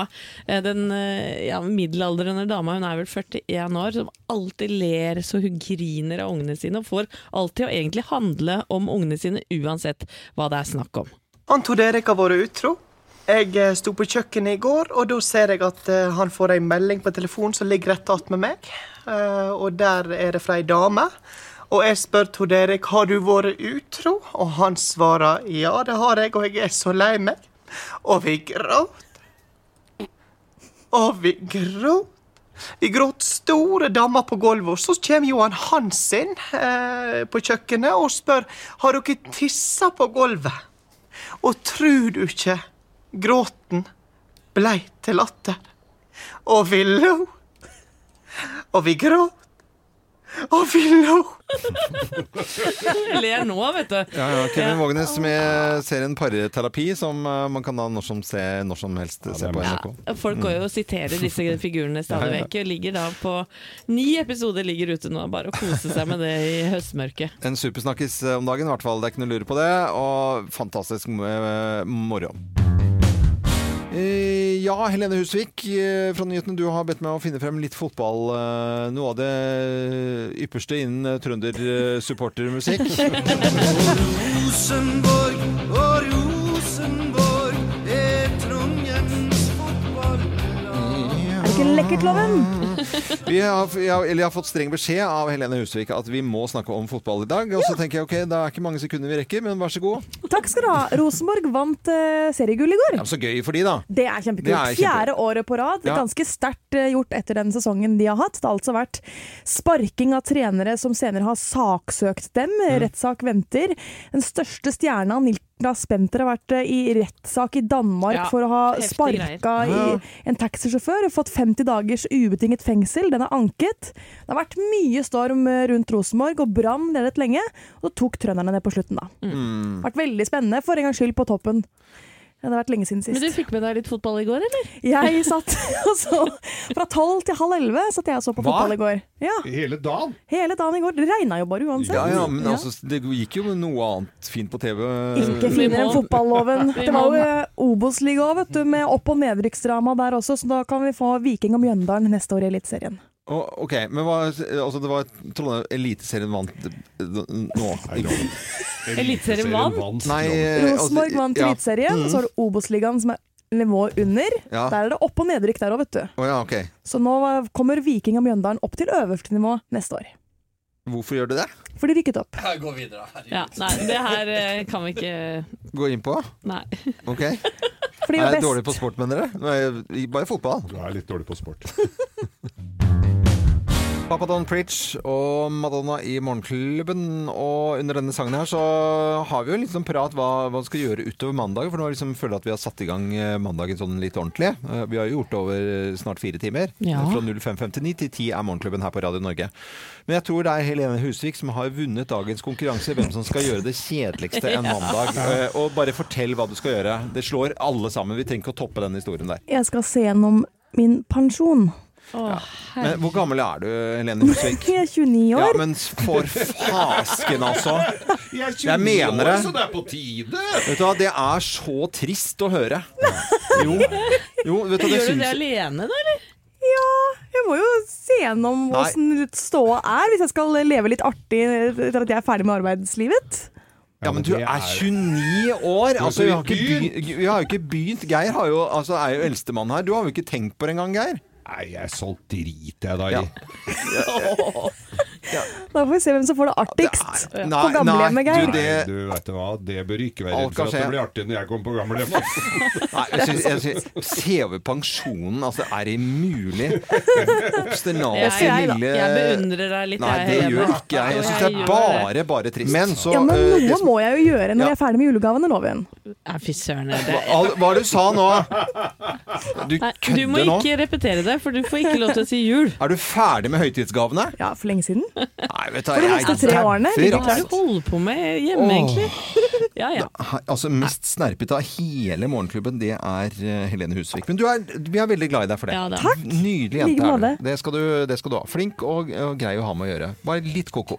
Speaker 3: Eh, Den eh, ja, middelaldrende dama, hun er vel 41 år, som alltid ler så hun griner av ungene sine, og får alltid å egentlig handle om ungene sine uansett hva det er snakk om.
Speaker 17: Han Tord Erik har vært utro. Jeg eh, sto på kjøkkenet i går, og da ser jeg at eh, han får ei melding på telefonen som ligger rett attmed meg. Eh, Og der er det fra ei dame. Og jeg spør Tord Erik har du vært utro, og han svarer ja, det har jeg, og jeg er så lei meg. Og vi gråt. Og vi gråt. Vi gråt store dammer på gulvet, og så kommer Johan Hansen eh, på kjøkkenet og spør har dere tissa på gulvet. Og tror du ikke gråten blei til latter? Og vi lo. Og vi gråt. Og vi lo.
Speaker 3: Jeg ler nå, vet du.
Speaker 1: Ja, ja, Kevin Vågenes med serien Parterapi, som eh, man kan da når som, se, når som helst se på NRK.
Speaker 3: Folk går jo og siterer disse figurene stadig
Speaker 1: Mm. Ja, ja.
Speaker 3: vekk. Ligger da på Ni episoder ligger ute nå, bare å kose seg med det i høstmørket.
Speaker 1: En supersnakkis eh, om dagen, i hvert fall. Det er ikke noe å lure på det. Og fantastisk eh, moro. Eh, Ja, Helene Husvik eh, fra nyhetene. Du har bedt meg å finne frem litt fotball. eh, Noe av det ypperste innen eh, trøndersupportermusikk.
Speaker 20: Rosenborg og Rosenborg er Trondheims
Speaker 4: Er det ikke lekkert, Loven?
Speaker 1: Vi har, jeg, har- eller jeg har fått streng beskjed av Helene Husvik at vi må snakke om fotball i dag. Og så tenker jeg ok, det er ikke mange sekunder vi rekker, men vær så god.
Speaker 4: Takk skal du ha. Rosenborg vant eh, seriegull i går.
Speaker 1: Ja, men så gøy for de, da.
Speaker 4: Det er kjempekult.
Speaker 1: Det er kjempe-
Speaker 4: Fjerde året på rad.
Speaker 1: Ja.
Speaker 4: Ganske sterkt eh, gjort etter den sesongen de har hatt. Det har altså vært sparking av trenere som senere har saksøkt dem. Rettssak venter. Den største stjerna, Nilknas Spenter, har vært eh, i rettssak i Danmark
Speaker 21: Ja,
Speaker 4: for å ha
Speaker 21: heftige
Speaker 4: sparka
Speaker 21: greier.
Speaker 4: i
Speaker 21: Ja.
Speaker 4: en taxisjåfør. Fått 50 dagers ubetinget fengsel. Den er anket. Det har vært mye storm eh, rundt Rosenborg, og Brann ledet lenge. Og så tok trønderne det på slutten, da.
Speaker 1: Mm.
Speaker 4: Vært veldig spennende for en gangs skyld på toppen. Det har vært lenge siden sist.
Speaker 3: Men du fikk med deg litt fotball i går, eller?
Speaker 4: Jeg satt og så Fra tolv til halv elleve satt jeg og så på
Speaker 1: Hva?
Speaker 4: fotball i går. Ja,
Speaker 2: Hele dagen?
Speaker 4: Hele dagen i går. Det regna jo bare uansett.
Speaker 1: Ja, ja, men
Speaker 4: Ja.
Speaker 1: altså, det gikk jo noe annet fint på TV.
Speaker 4: Ikke finere enn fotballoven.
Speaker 1: Vi
Speaker 4: Det
Speaker 1: må-
Speaker 4: var jo eh, Obos-liga òg, vet du, med opp- og nedrykksdrama der også, så da kan vi få Viking og Mjøndalen neste år i Eliteserien.
Speaker 1: Å, ok, men hva, altså, det var Trondheim Eliteserien vant eh, nå.
Speaker 4: Eliteserien vant?
Speaker 1: Nei, eh, altså,
Speaker 4: Rosenborg vant
Speaker 1: ja.
Speaker 4: Eliteserien,
Speaker 1: Mm.
Speaker 4: så har du Obos-ligaen som er nivået under.
Speaker 1: Ja.
Speaker 4: Der er det opp- og nedrykk der òg, vet du.
Speaker 1: Å ja, ok.
Speaker 4: Så nå eh, kommer Viking og Mjøndalen opp til øverste nivå neste år.
Speaker 1: Hvorfor gjør du det?
Speaker 4: Fordi de rykket opp.
Speaker 20: Gå videre.
Speaker 3: Ja, nei, det her eh, kan vi ikke
Speaker 1: Gå inn på?
Speaker 3: Nei.
Speaker 1: Ok. er
Speaker 3: Fordi det er
Speaker 1: jeg dårlig på sport, mener dere? Nå er jeg- Bare fotball. Du
Speaker 2: er litt dårlig på sport.
Speaker 1: Papa Don Pritch og Madonna i Morgenklubben. Og under denne sangen her så har vi jo liksom prat hva hva man skal gjøre utover mandag. For nå liksom føler jeg at vi har satt i gang eh, mandagen sånn litt ordentlig. Eh, Vi har jo gjort det over eh, snart fire timer.
Speaker 22: Ja.
Speaker 1: Fra 05.59 til 10 er Morgenklubben her på Radio Norge. Men jeg tror det er Helene Husvik som har vunnet dagens konkurranse. Hvem som skal gjøre det kjedeligste en
Speaker 4: Ja.
Speaker 1: mandag. Eh, Og bare fortell hva du skal gjøre. Det slår alle sammen. Vi trenger ikke å toppe den historien der.
Speaker 4: Jeg skal se gjennom min pensjon.
Speaker 1: Men hvor gammel er du, Helene Husvik?
Speaker 4: Jeg er 29 år.
Speaker 1: Ja, men for fasken, altså.
Speaker 2: Jeg er 20
Speaker 1: Jeg mener
Speaker 2: år,
Speaker 1: det.
Speaker 2: så det er på tide.
Speaker 1: Vet du hva, Det er så trist å høre. Jo, jo vet du, det
Speaker 3: Gjør du det
Speaker 1: syns
Speaker 3: alene, da, eller?
Speaker 4: Ja, jeg må jo se gjennom
Speaker 1: Nei.
Speaker 4: åssen ståa er, hvis jeg skal leve litt artig etter at jeg er ferdig med arbeidslivet.
Speaker 1: Ja, men du er 29 år! Altså, vi har ikke begynt. Vi har jo ikke begynt. Geir har jo, altså, er jo eldstemann her. Du har jo ikke tenkt på det engang, Geir.
Speaker 2: Nei, jeg er sånn drit, jeg da. i.
Speaker 4: Da får vi se hvem som får det artigst på gamlehjemmet,
Speaker 2: du,
Speaker 4: Geir.
Speaker 2: det... du vet du hva, det bør ikke være
Speaker 1: Alt
Speaker 2: redd
Speaker 1: kan
Speaker 2: for at det
Speaker 1: skje.
Speaker 2: blir artig når jeg kommer på gamlehjemmet.
Speaker 1: Nei, jeg synes, jeg synes, se over pensjonen, altså er det mulig? Obsternate
Speaker 3: Jeg- jeg-
Speaker 1: lille
Speaker 3: jeg beundrer deg litt,
Speaker 1: Nei,
Speaker 3: jeg,
Speaker 1: det
Speaker 3: Helene.
Speaker 1: gjør ikke jeg. Jeg syns det
Speaker 3: Jeg
Speaker 1: er
Speaker 3: gjør
Speaker 1: bare, bare trist. Men så
Speaker 4: ja, men
Speaker 1: eh,
Speaker 4: noe
Speaker 1: det som-
Speaker 4: må jeg jo gjøre når jeg er ferdig med julegavene, Loven.
Speaker 3: Nei, fy søren.
Speaker 1: hva, al- hva er det du sa nå? Du
Speaker 3: Nei, du
Speaker 1: kødder
Speaker 3: må
Speaker 1: nå?
Speaker 3: ikke repetere det, for du får ikke lov til å si jul.
Speaker 1: Er du ferdig med høytidsgavene?
Speaker 4: Ja, for lenge siden.
Speaker 1: Nei, vet du,
Speaker 4: For de
Speaker 1: jeg
Speaker 4: neste tre årene.
Speaker 1: dauer,
Speaker 4: Hvilket
Speaker 1: altså.
Speaker 4: har
Speaker 3: du holder på med hjemme,
Speaker 1: Åh.
Speaker 3: egentlig? Ja, ja.
Speaker 1: Hei, Altså Mest snerpete av hele morgenklubben, det er eh, Helene Husvik. Men du er, vi er veldig glad i deg for det.
Speaker 3: Ja, da. Takk.
Speaker 1: Nydelig
Speaker 3: I like
Speaker 1: jente. er
Speaker 3: måte.
Speaker 1: du. Det skal, du, det skal du ha. Flink og, og grei å ha med å gjøre. Bare litt ko-ko.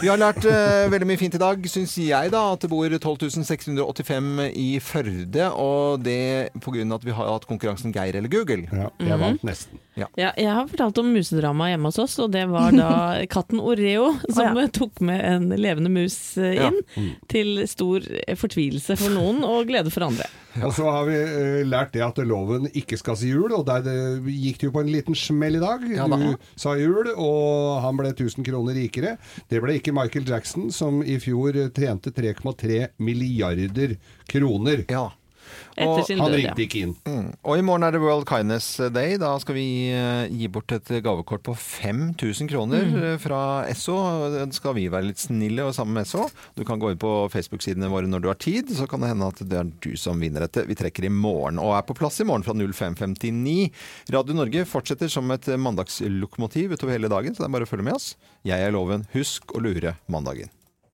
Speaker 1: Vi har lært eh, veldig mye fint i dag, syns jeg da. At det bor 12.685 i Førde. Og det pga. at vi har hatt konkurransen Geir eller Google. Ja,
Speaker 3: jeg vant
Speaker 2: nesten.
Speaker 3: Ja, jeg har fortalt om musedrama hjemme hos oss, og det var da katten Oreo som tok med en levende mus eh,
Speaker 2: Ja.
Speaker 3: inn.
Speaker 2: Mm.
Speaker 3: Til stor eh, fortvilelse for noen og glede for andre.
Speaker 2: Og så har vi eh, lært det at loven ikke skal si jul, og der eh, gikk det jo på en liten smell i dag.
Speaker 3: Ja da.
Speaker 2: du sa jul, og han ble 1000 kroner rikere. Det ble ikke Michael Jackson, som i fjor eh, tjente 3,3 milliarder kroner.
Speaker 1: Etter
Speaker 2: Og
Speaker 1: sin
Speaker 2: han
Speaker 1: død, ja.
Speaker 2: ringte ikke inn.
Speaker 1: Mm. Og i morgen er det World Kindness Day. Da skal vi eh, gi bort et gavekort på 5000 kroner
Speaker 2: Mm.
Speaker 1: eh, fra Esso. Da skal vi være litt snille og sammen med Esso. Du kan gå inn på Facebook-sidene våre når du har tid, så kan det hende at det er du som vinner dette. Vi trekker i morgen, og er på plass i morgen fra 05.59. Radio Norge fortsetter som et mandagslokomotiv utover hele dagen, så det er bare å følge med oss. Jeg er Loven. Husk å lure mandagen.